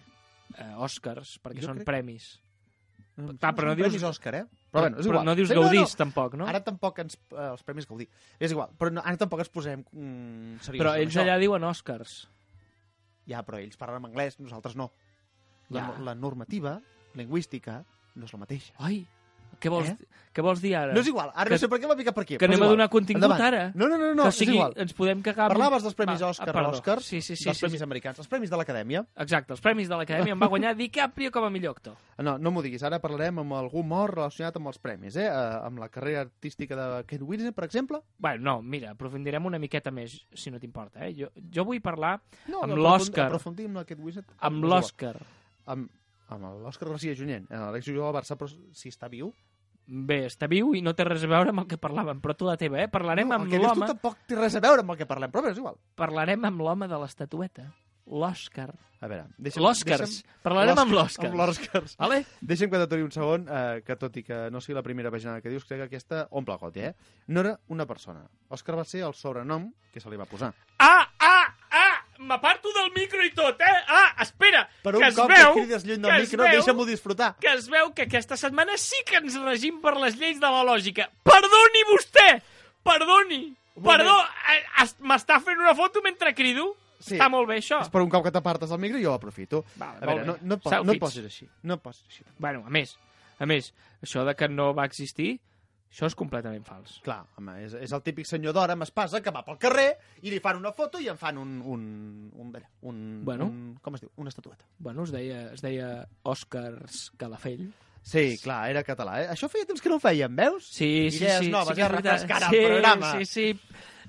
Eh, Oscars, perquè Jo són crec- premis. No, Clar, però no són dius- premis Òscar, eh? Però, bueno, és igual. no dius Bé, Gaudís, tampoc, no? Ara tampoc ens... Eh, els premis Gaudí. És igual, però no, ara tampoc ens posem mm, seriosos Però amb ells això. allà diuen Oscars. Ja, però ells parlen en anglès, nosaltres no. La, Ja. la normativa lingüística no és la mateixa. Ai, què vols, Eh? què vols dir ara? No és igual, ara Que- no sé per què m'ha picat per aquí. que però és anem a igual. donar contingut Endavant. ara? No, no, no, no, que no és igual. ens podem cagar... amb- Parlaves dels premis Va, Òscar, ah, perdó. l'Òscar, Sí, sí, sí. dels sí, premis sí. americans, els premis de l'acadèmia. Exacte, els premis de l'Acadèmia en va guanyar DiCaprio com a millor actor. No, no m'ho diguis, ara parlarem amb algú mort relacionat amb els premis, eh? Eh, amb la carrera artística de Kate Winslet, per exemple. Bueno, no, mira, aprofundirem una miqueta més, si no t'importa, eh? Jo, jo vull parlar No, Amb aprofundir- l'Òscar. Aprofundir amb la Kate Winslet. amb No és l'Òscar. igual. Amb, amb l'Òscar García Junyent, eh, l'ex jugador del Barça, però si està viu... Bé, està viu i no té res a veure amb el que parlàvem, però tu la teva, eh? Parlarem no, amb el que dius tu l'home tampoc té res a veure amb el que parlem, però bé, és igual. parlarem amb l'home de l'estatueta, l'Òscar. A veure, deixa'm... L'Òscars. deixa'm- Parlarem amb l'Òscar. l'Òscar- Amb l'Òscar. Vale? Deixa'm que t'aturi un segon, eh, que tot i que no sigui la primera pàgina que dius, crec que aquesta omple el goti, eh? No era una persona. Òscar va ser el sobrenom que se li va posar. Ah, ah, ah! M'aparto del micro i tot, eh? Ah, espera! Per un que es cop veu, que crides lluny que del es micro, veu, deixa'm-ho disfrutar. Que es veu que aquesta setmana sí que ens regim per les lleis de la lògica. Perdoni vostè! Perdoni! moment. Perdó, eh, es- m'està fent una foto mentre crido? Sí. Està molt bé, això. És per un cop que t'apartes del micro, jo aprofito. Val, a veure, no, molt bé. no, po no Selfies. et posis així. No et posis així. Bueno, a més, a més, això de que no va existir, això és completament fals. Clar, home, és, és el típic senyor d'hora amb espasa que va pel carrer i li fan una foto i en fan un... un, un, d'allà, un, Bueno. un com es diu? Una estatueta. Bueno, es deia, es deia Òscars Calafell. Sí, clar, era català. Eh? Això feia temps que no ho feien, veus? Sí, sí, Idees sí. noves, sí que ja és veritat. refrescant el sí, programa. Sí, sí.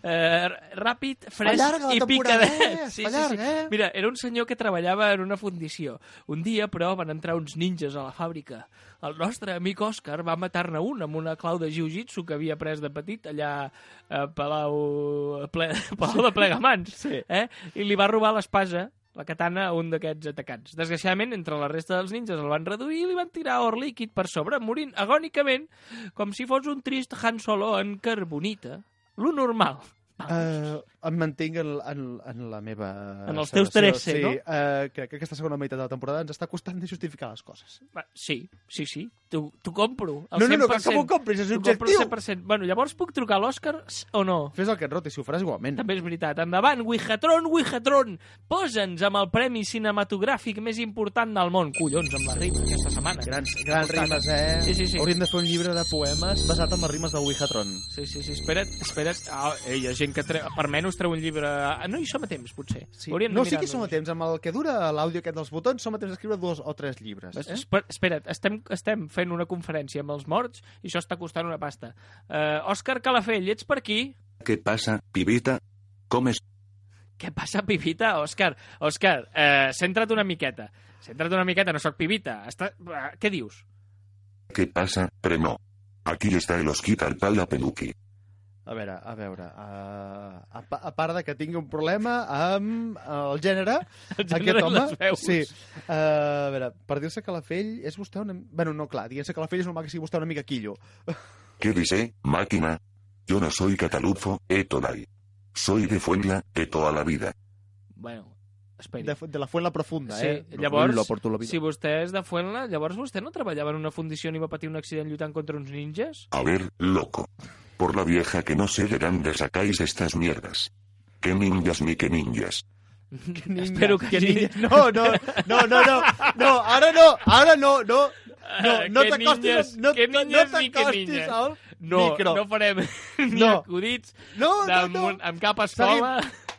Uh, ràpid, fresc Allarga la i temporada, picadet. eh? Allarga, eh? Mira, era un senyor que treballava en una fundició. Un dia, però, van entrar uns ninjas a la fàbrica. El nostre amic Òscar va matar-ne un amb una clau de jiu-jitsu que havia pres de petit allà a Palau, a ple, a Palau de Plegamans. Sí. Eh? I li va robar l'espasa la katana a un d'aquests atacants. Desgraciadament, entre la resta dels ninjas el van reduir i li van tirar or líquid per sobre, morint agònicament com si fos un trist Han Solo en carbonita. Lo normal. Eh, em mantinc en, en, en la meva... En els teus sensació. 13, sí, no? eh, crec que aquesta segona meitat de la temporada ens està costant de justificar les coses. Va, Sí, sí, sí. T'ho t'ho compro. Al No, no, no, que, 100%. que m'ho compris, és T'ho compro al objectiu. 100%. Bueno, llavors puc trucar a l'Òscar s- o no? Fes el que et roti, si ho faràs igualment. També és veritat. Endavant, Wihatron, Wihatron! Posa'ns amb el premi cinematogràfic més important del món. Collons, amb la rima aquesta setmana. Grans, grans rimes, eh? Sí, sí, sí. Hauríem de fer un llibre de poemes basat en les rimes del Wihatron. Sí, sí, sí, espera't, espera't. Ah, ei, hi ha gent que tre... per menys treu un llibre... Ah, no hi som a temps, potser. Sí. Hauríem de No, sí que mirar-nos. som a temps. Amb el que dura l'àudio aquest dels botons, som a temps d'escriure dos o tres llibres. Es- Eh? Esper espera't, estem, estem fent una conferència amb els morts i això està costant una pasta. Uh, Òscar Calafell, ets per aquí? ¿Qué pasa, pibita? ¿Cómo estás? Què passa, Pibita? Òscar, Òscar, eh, centra't una miqueta. Centra't una miqueta, no sóc Pibita. Està... eh, Què dius? ¿Qué pasa, primo? Aquí está el Osquitar Pala Peluki. A veure, a veure... Uh, a, pa- a part de que tingui un problema amb el gènere, El gènere aquest i home... les veus. Sí. Uh, a veure, per dir-se que la Fell és vostè una... Bueno, no, clar, dient-se que la Fell és normal que sigui vostè una mica quillo. ¿Qué dice, máquina? Yo no soy catalufo, etolai. Soy de Fuenla, de toda la vida. Bueno, esperi. De, de la Fuent la Profunda, Sí, eh? llavors, Lo porto la vida. Si vostè és de Fuenla, llavors vostè no treballava en una fundició ni va patir un accident lluitant contra uns ninjas? A ver, loco. Por la vieja que no sé de dónde sacáis estas mierdas. ¿Qué ninjas ni qué ninjas? Ninja, Espero que hagi- ninja. No, no, no, no, no, no, ara no, ara no, no, no, Eh, no que t'acostis, ninjas, no, que no, no ninjas ni que t'acostis Eh, ninjas. al No, micro. no farem ni No. acudits No, no, amb, no, un- amb cap escola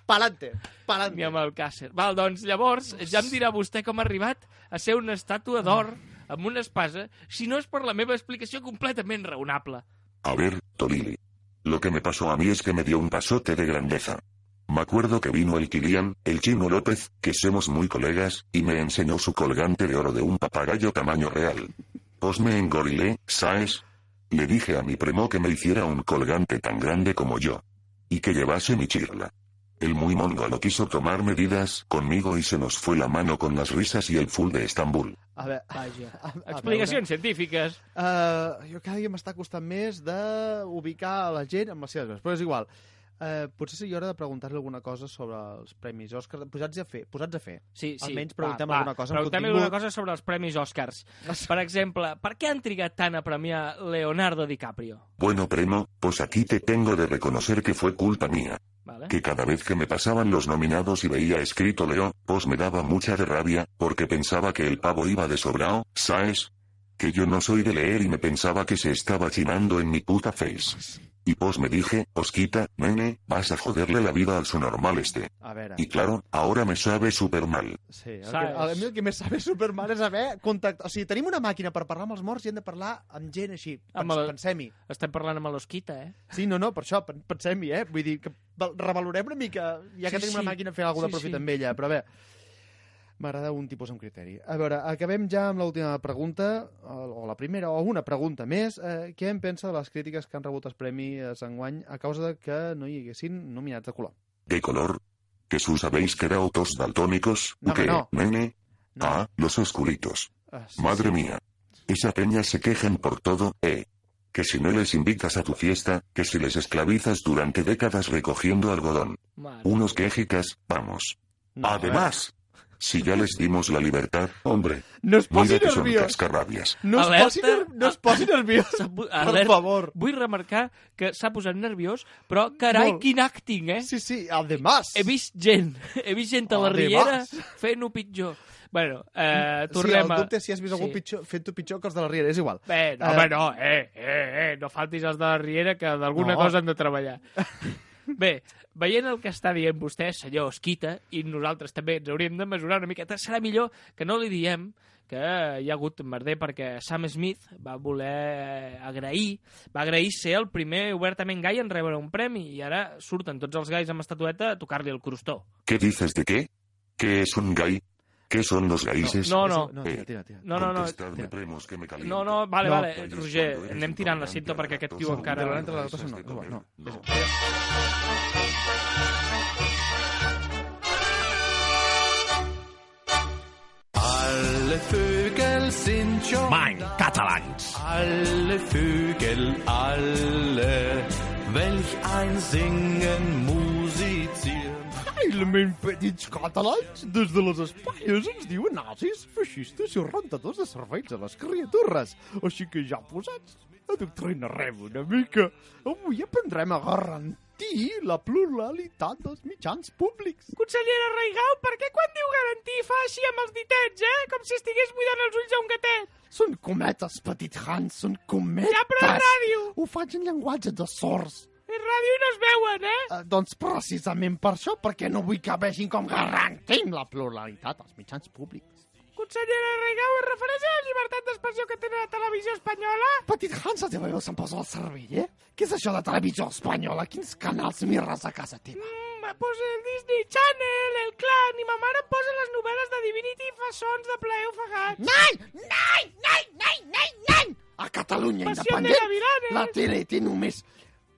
Pa'lante, ni pa'lante. amb el càcer. Val, doncs llavors ja em dirà vostè com ha arribat a ser una estàtua d'or amb una espasa, si no és per la meva explicació completament raonable. A ver, Tolili. Lo que me pasó a mí es que me dio un pasote de grandeza. Me acuerdo que vino el Kilian, el chino López, que somos muy colegas, y me enseñó su colgante de oro de un papagayo tamaño real. Pues me engorilé, ¿sabes? Le dije a mi primo que me hiciera un colgante tan grande como yo. Y que llevase mi chirla. El muy mongolo quiso tomar medidas conmigo y se nos fue la mano con las risas y el full de Estambul. A veure, Vaja. a, a veure. Explicacions científiques. Uh, jo cada dia m'està costant més d'ubicar a la gent amb les seves veus, però és igual. Uh, potser seria hora de preguntar-li alguna cosa sobre els premis Òscar. Posats a fer, posats a fer. Sí, sí. Almenys Va, preguntem va, alguna cosa amb Preguntem contingut. alguna cosa sobre els Premis Oscars. Per exemple, per què han trigat tant a premiar Leonardo DiCaprio? Bueno, primo, pues aquí te tengo de reconocer que fue culpa mía. Vale? que cada vez que me pasaban los nominados y veía escrito Leo, pues me daba mucha de rabia, porque pensaba que el pavo iba de sobrao, ¿sabes? Que yo no soy de leer y me pensaba que se estaba chinando en mi puta face. Y pues me dije, Osquita, nene, vas a joderle la vida al su normal este. A veure, Y claro, ahora me sabe súper mal. sí, el que, Saps? a mi el que més sabe Superman és haver contactat... O sigui, tenim una màquina per parlar amb els morts i hem de parlar amb gent així. Amb Pens, el- Pensem-hi. Estem parlant amb l'Osquita, eh? Sí, no, no, per això, pen- pensem-hi, eh? Vull dir, que val- revalorem una mica, ja que Sí, tenim sí. una màquina, fer alguna Sí, sí, profit sí. amb ella, però bé, m'agrada un tipus amb criteri. A veure, acabem ja amb l'última pregunta, o o la primera, o una pregunta més. Eh, què en pensa de les crítiques que han rebut els premis enguany a causa de que no hi haguessin nominats de color? ¿De color? ¿Que sus habéis quedado tos daltónicos? No, ¿Qué, no. nene? No. Ah, los oscuritos. Ah, sí, Madre sí. mía. Esa peña se quejan por todo, eh. Que si no les invitas a tu fiesta, que si les esclavizas durante décadas recogiendo algodón. Mare. Unos quejicas, vamos. No, Además, si ya les dimos la libertad, hombre, No es posi mira que son nerviós! cascarrabias. No es, posi, Alerta. Ah. ner- no es posi nerviós, S'ha pu- per Alerta. favor! Vull remarcar que s'ha posat nerviós, però carai, Molt. quin acting, eh? Sí, sí, además! He vist gent, he vist gent a la Además. Riera fent-ho pitjor. Bueno, eh, Sí, tornem el a... dubte és si has vist algú Sí. pitjor, fent-ho pitjor que els de la Riera, és igual. Eh, no, Eh, home, no, eh, eh, eh, no faltis els de la Riera, que d'alguna No. cosa han de treballar. Bé, veient el que està dient vostè, senyor Esquita, i nosaltres també ens hauríem de mesurar una miqueta, serà millor que no li diem que hi ha hagut merder perquè Sam Smith va voler agrair, va agrair ser el primer obertament gai en rebre un premi i ara surten tots els gais amb estatueta a tocar-li el crostó. ¿Qué dices de qué? ¿Qué es un gay? ¿Qué son los gaises? No, no, No, tira, tira, tira. no, no, no, Contestadme, primos, que me caliento. no, no vale, No. vale, Roger, anem tirant la cinta perquè aquest tio encara... Intolerant a la lactosa no, no, no. Alle Vögel sind schon Mein Catalans. alle Vögel, alle. Welch ein Singen, Musik. Felícia. Realment petits catalans, des de les espaies ens diuen "Ah, nazis, feixistes i rentadors de cervells a les criatures. Així que ja posats, a doctrinarem una mica. Avui aprendrem a garantir la pluralitat dels mitjans públics. Consellera Raigau, per què quan diu garantir fa així amb els ditets, eh? Com si estigués buidant els ulls a un gatet. Són cometes, petit Hans, són cometes. Ja, però és ràdio. Ho faig en llenguatge de sords. És ràdio i no es veuen, eh? Eh, doncs precisament per això, perquè no vull que vegin com garantim la pluralitat als mitjans públics. Consellera Raigau, es refereix a la llibertat d'expressió que té la televisió espanyola? Petit Hans, la teva veu se'm posa al cervell, eh? Què és això de televisió espanyola? Quins canals mirres a casa teva? Mm, pues el Disney Channel, el clan, i ma mare em posa les novel·les de Divinity i façons de plaer ofegats. Nen! Nen! Nen! Nen! Nen! Nen! A Catalunya Passió de independent, gavilanes. la tele té només...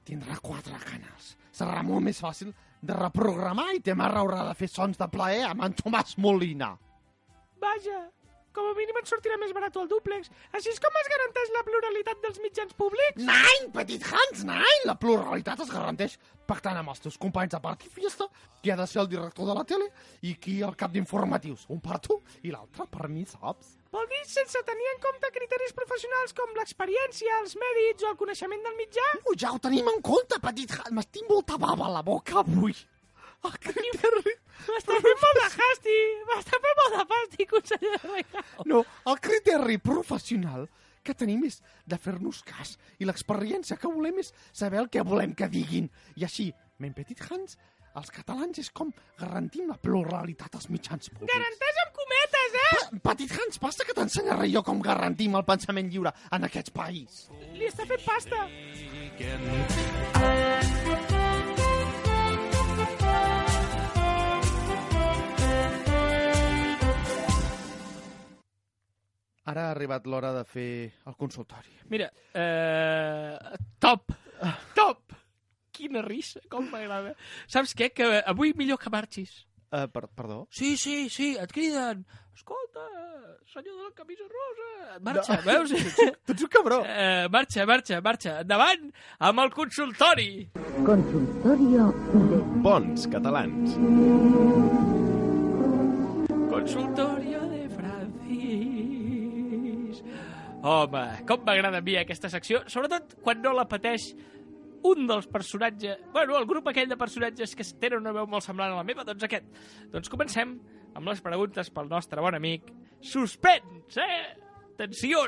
Tindrà quatre canals. Serà molt més fàcil de reprogramar i te mare haurà de fer sons de plaer amb en Tomàs Molina. Vaja, com a mínim ens sortirà més barat el dúplex. Així és com es garanteix la pluralitat dels mitjans públics? Nein, petit Hans, nein! La pluralitat es garanteix pactant amb els teus companys de part i fiesta qui ha de ser el director de la tele e i qui el cap d'informatius. Un per tu i l'altre per mi, saps? Vol dir sense tenir en compte criteris professionals com l'experiència, els mèrits o el coneixement del mitjà? Ui, ja ho tenim en compte, petit Hans. M'estic molta bava a la boca avui. El criteri... M'està fent molt de hasti, m'està fent molt de hasti, consellera Regal. No, el criteri professional que tenim és de fer-nos cas i l'experiència que volem és saber el que volem que diguin. I així, men petit Hans, els catalans és com garantim la pluralitat als mitjans públics. Garanteix amb cometes, eh? Pa- Petit Hans, passa que t'ensenyaré jo com garantim el pensament lliure en aquest país. Li està fent pasta. Ara ha arribat l'hora de fer el consultori. Mira, eh, top, top. Quina risa, com m'agrada. Saps què? Que avui millor que marxis. Uh, per perdó? Sí, sí, sí, et criden. Escolta, senyor de la camisa rosa, marxa, no. veus? Tu ets un cabró. Eh, marxa, marxa, marxa. Endavant amb el consultori. Consultorio de Bons catalans. Consultorio de Francis. Home, com m'agrada a mi aquesta secció, sobretot quan no la pateix un dels personatges... Bueno, el grup aquell de personatges que tenen una veu molt semblant a la meva, doncs aquest. Doncs comencem amb les preguntes pel nostre bon amic Suspens, eh? Tensió!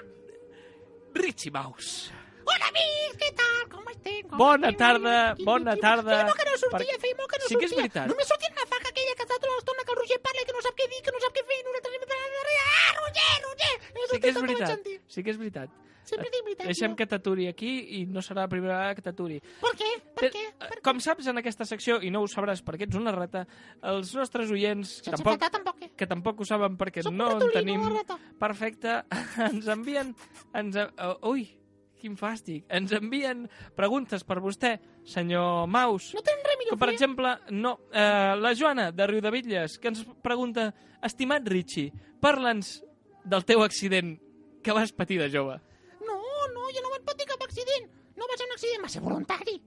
Richie Mouse. Hola, amics, què tal? Com estem? Com Bona estem? tarda, Quin- bona quin- tarda. Feia molt que no sortia, Per- feia molt que no Sí que és sortia. veritat. Només sortia la faca aquella que està tota l'estona que el Roger parla i que no sap què dir, que no sap què fer, i nosaltres anem darrere. Ah, Roger, Roger! Només Sí sortia que és tot el veritat, sentit. sí que és veritat. Sempre dic veritat. Deixem jo. que t'aturi aquí i no serà la primera vegada que t'aturi. Per què? Per Té- què? eh, Com saps, en aquesta secció, i no ho sabràs perquè ets una rata, els nostres oients, que Sense tampoc, faltar tampoc, eh? que tampoc ho saben perquè Soc un no en ratolí, tenim... no una rata. Perfecte, ens envien... Ens, uh, ui, quin fàstic. Ens envien preguntes per vostè, senyor Maus. No tenen res millor que, per a fer. exemple, no, eh, la Joana, de Riu de Bitlles, que ens pregunta, estimat Richie, parla'ns del teu accident que vas patir de jove. No, no, jo no vaig patir cap accident. No va ser un accident, va ser voluntari.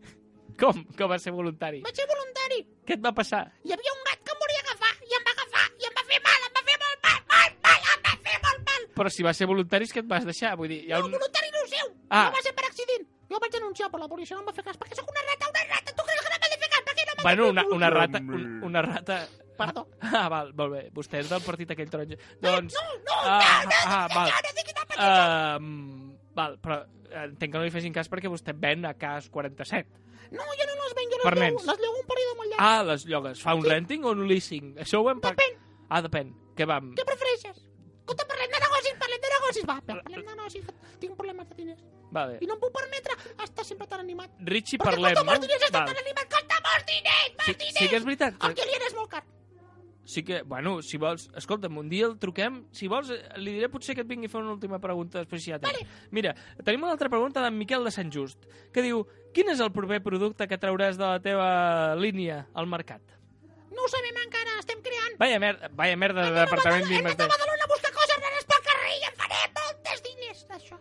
Com? Com vas ser voluntari? Vaig ser voluntari. Què et va passar? Hi havia un gat que em volia agafar i em va agafar i em va fer mal, em va fer molt mal, mal, mal, em va fer molt mal. Però si vas ser voluntari és que et vas deixar, vull dir... Hi ha No, un... voluntari no ho seu. Ah. Ah. No va ser per accident. Jo vaig denunciar, però la policia no em va fer cas. Perquè sóc una rata, una rata. Tu creus que no m'ha de fer cas? Per què no m'ha Bueno, una, una rata... un- Una rata... Perdó. Eh, Ah, val, molt bé. Vostè és del partit aquell taronja. No, Doncs... no, no, Ah, no, no, ah, no, val. no, no, sé quina penya- Um, val, però entenc que no li fessin cas perquè vostè ven a cas 47. No, jo no les venc, jo Per les lleu, nens. les lleu un període molt llarg. Ah, les llogues. Fa un renting o un leasing? Això ho hem... par- Depèn. Ah, depèn. Què vam? Què prefereixes? Escolta, parlem de negocis, parlem de negocis. Va, parlem de negocis, que tinc problemes de diners. Vale. I no em puc permetre estar sempre tan animat. Richie, Perquè Eh. parlem, costa no? molts diners estar Val. tan animat, costa molts diners, molts Sí, diners. sí que és veritat. El client és molt car. Sí que, bueno, si vols... Escolta'm, un dia el truquem. Si vols, eh, li diré potser que et vingui a fer una última pregunta després si hi ha temps. Vale. Mira, tenim una altra pregunta d'en Miquel de Sant Just, que diu Quin és el proper producte que trauràs de la teva línia al mercat? No ho sabem encara, estem creant. Vaya merda, vaya merda de Anem a departament Badalona- Anem d'IMSD. a Badalona a buscar coses rares pel carrer i en farem moltes diners, d'això.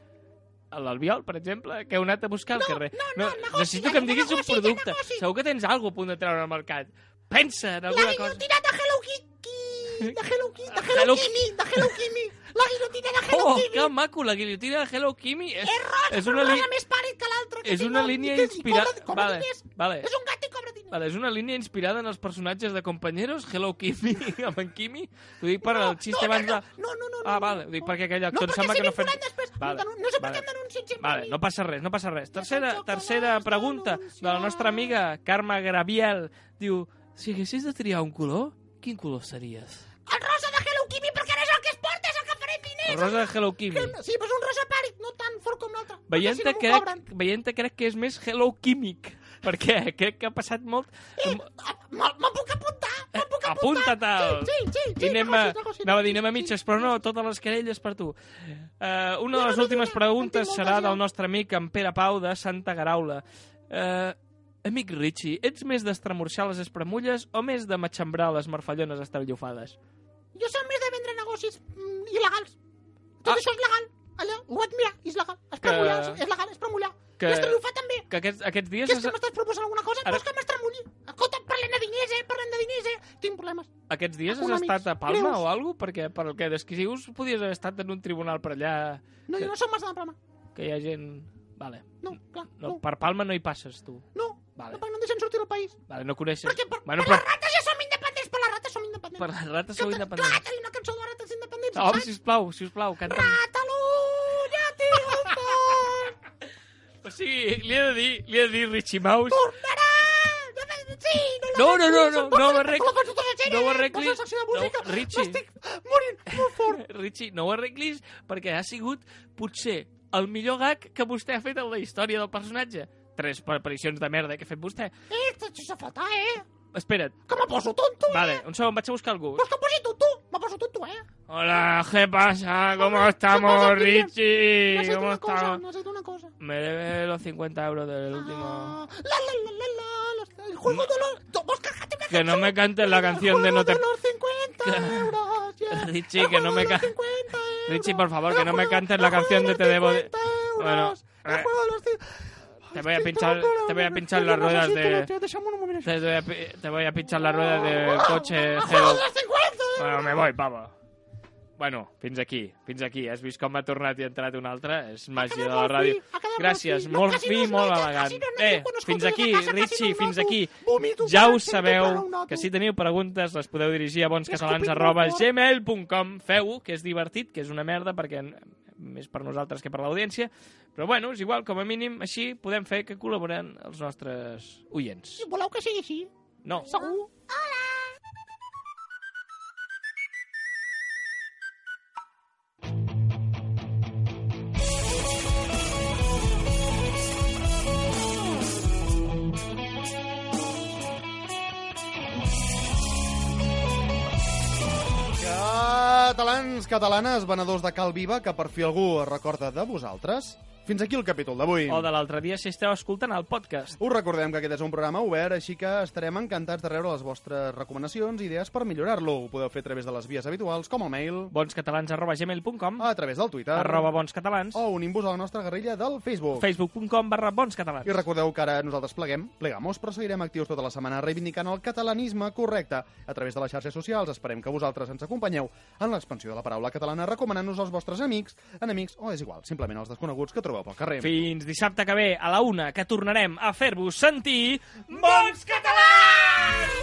a l'Albiol, per exemple, que heu anat a buscar al No, carrer. no, no, negoci, necessito que em diguis negoci, un producte. negoci. Segur que tens alguna a punt de treure al mercat. Pensa en alguna cosa. guillotina de Hello Kitty! De Hello Kitty! De Hello Hello- Kimmy! De Hello Kimmy! La guillotina de Hello Oh, Kimmy! que maco, la guillotina de Hello Kimi. És, és Una una, li... cosa més pàl·lid que l'altra. que és tinc una al- línia i que- i inspirada... cobra- cobra Vale, diners. vale. És un gat i cobra diners. Vale, és una línia inspirada en els personatges de Companyeros, Hello Kimi, amb en Kimi. T'ho dic per al no, xiste abans de... No, no, no. Ah, vale, ho dic perquè aquell No, actor em perquè sembla s'hi que no vinculen després. Vale, No, no sé per vale. què em denuncien sempre a Vale, mi. no passa res, no passa res. Tercera, tampoc tercera abans pregunta de la nostra amiga Carme Graviel. Diu, si haguessis de triar un color, quin color series? El rosa de Hello Kimmy, perquè ara és el que es porta, és el que faré El diners. rosa de Hello Kimi. Que- Sí, però és un rosa pàl·lid, no tan fort com l'altre. perquè si Veient-te no m'ho crec, cobren. veient crec que és més Hello Químic, perquè crec que ha passat molt... Ah, me- Me'n puc apuntar, me'n puc apuntar. Apunta't al... Sí, sí, sí. I anem a, negoci, negoci, anava a dir, negoci, anem a sí, mitges, sí. però no, totes les querelles per tu. Uh, una de No, les no, no, no, últimes en preguntes tinc serà moltes, del ja. nostre amic en Pere Pau de Santa Garaula. Uh, amic Richie, ets més d'estremorxar les espremulles o més de matxembrar les marfallones estrellofades? Jo soc més de vendre negocis mm, il·legals. Tot Ah. això és legal. Allò, ho vaig mirar, és legal. Es premullar, Que- és legal, es premullar. que- Que... L'estrellofar també. Que aquests, aquests dies... Que és es- que m'estàs proposant alguna cosa, Ara- Ara... vols que m'estremulli? Escolta, parlem de diners, eh? Parlem de diners, eh? Tinc problemes. Aquests dies has Econòmics. estat a Palma Greus. o alguna Perquè per el que descrius podies haver estat en un tribunal per allà No, Que- jo no soc massa de problema. que hi ha gent... Vale. No, clar, No, no. Per Palma no hi passes, tu. No, Vale, no, perquè no em deixen sortir del país. vale no coneixes... Perquè per, bueno, per però les rates ja som independents, per les rates som independents. per les rates sou Canta- independents. Canta-li una cançó de rates independents. No, home, sisplau, sisplau, canta'm. Catalunya, tio, fort! O sigui, li he de dir, li he de dir Richie Mouse. Tornarà! Sí, No, la- no, no, no, Posa- no ho arregli. la poso tota la sèrie, No ho eh? arregli. Posa la secció de No, música. Richie. M'estic morint molt fort. Richie, no ho arreglis perquè ha sigut potser el millor gag que vostè ha fet en la història del personatge. Tres aparicions de merda que ha fet vostè. Eh, això és a faltar, eh? Espera't, Que me poso tonto, eh? vale, un segon, vaig a buscar algú. Vols que em posi tonto? Me poso tonto, eh? Hola, ¿qué pasa? ¿Cómo Hola, ¿qué estamos, pasa, Kilian? Richie? Necesito ¿Cómo una cosa, estamos? necesito una cosa. Me debe los 50 euros del último... Ah, la, la, la, la, la, los- el juego de los... to- Vols que cante una Que no cançó? me cantes la El canción de juego no te... de los 50 Que- euros, yeah. Richie, El que no juego me de los ca- 50 euros. Richie, por favor, El que no me juego- cantes el la juego canción de los Te debo de- 50 euros. Bueno, El eh, juego de los cin- te voy a Estoy pinchar- tocando te voy a la- pinchar las no, no, ruedas sí, de- pero te- Deixa'm un moment. Te voy a, pi- te voy a pinchar la rueda del coche, El juego Hello. de los 50 euros. Bueno, me voy, pava. Bueno, fins aquí, fins aquí. Has vist com m'ha tornat i ha entrat un altre? És màgia de la molt ràdio. fi, ha quedat Gràcies, molt molt fi. Quasi fi, no es molt nota, elegant. quasi no es nota Eh, quan escolto fins des de aquí, casa, quasi no Richie, ho fins noto. aquí. Vomito Ja quan ho sento, però sabeu, ho noto. que si teniu preguntes les podeu dirigir a escopit bonscatalans molt arroba fort. gmail.com. Feu-ho, que és divertit, que és una merda, perquè eh, més per nosaltres que per l'audiència. Però bueno, és igual, com a mínim, així podem fer que col·laboren els nostres oients. Si voleu que sigui així, No. segur. Catalans, catalanes, venedors de Cal Viva, que per fi algú es recorda de vosaltres. Fins aquí el capítol d'avui. O de l'altre dia, si esteu escoltant el podcast. Us recordem que aquest és un programa obert, així que estarem encantats de rebre les vostres recomanacions i idees per millorar-lo. Ho podeu fer a través de les vies habituals, com el mail, bonscatalans arroba gmail.com a través del Twitter, arroba bonscatalans o unint-vos a la nostra guerrilla del Facebook. facebook.com barra bonscatalans I recordeu que ara nosaltres pleguem, plegamos, però seguirem actius tota la setmana reivindicant el catalanisme correcte. A través de les xarxes socials esperem que vosaltres ens acompanyeu en l'expansió de la paraula catalana recomanant-nos als vostres amics, enemics o, és igual, simplement als desconeguts que trobeu pel carrer. Fins dissabte que ve a la una que tornarem a fer-vos sentir Bons Catalans!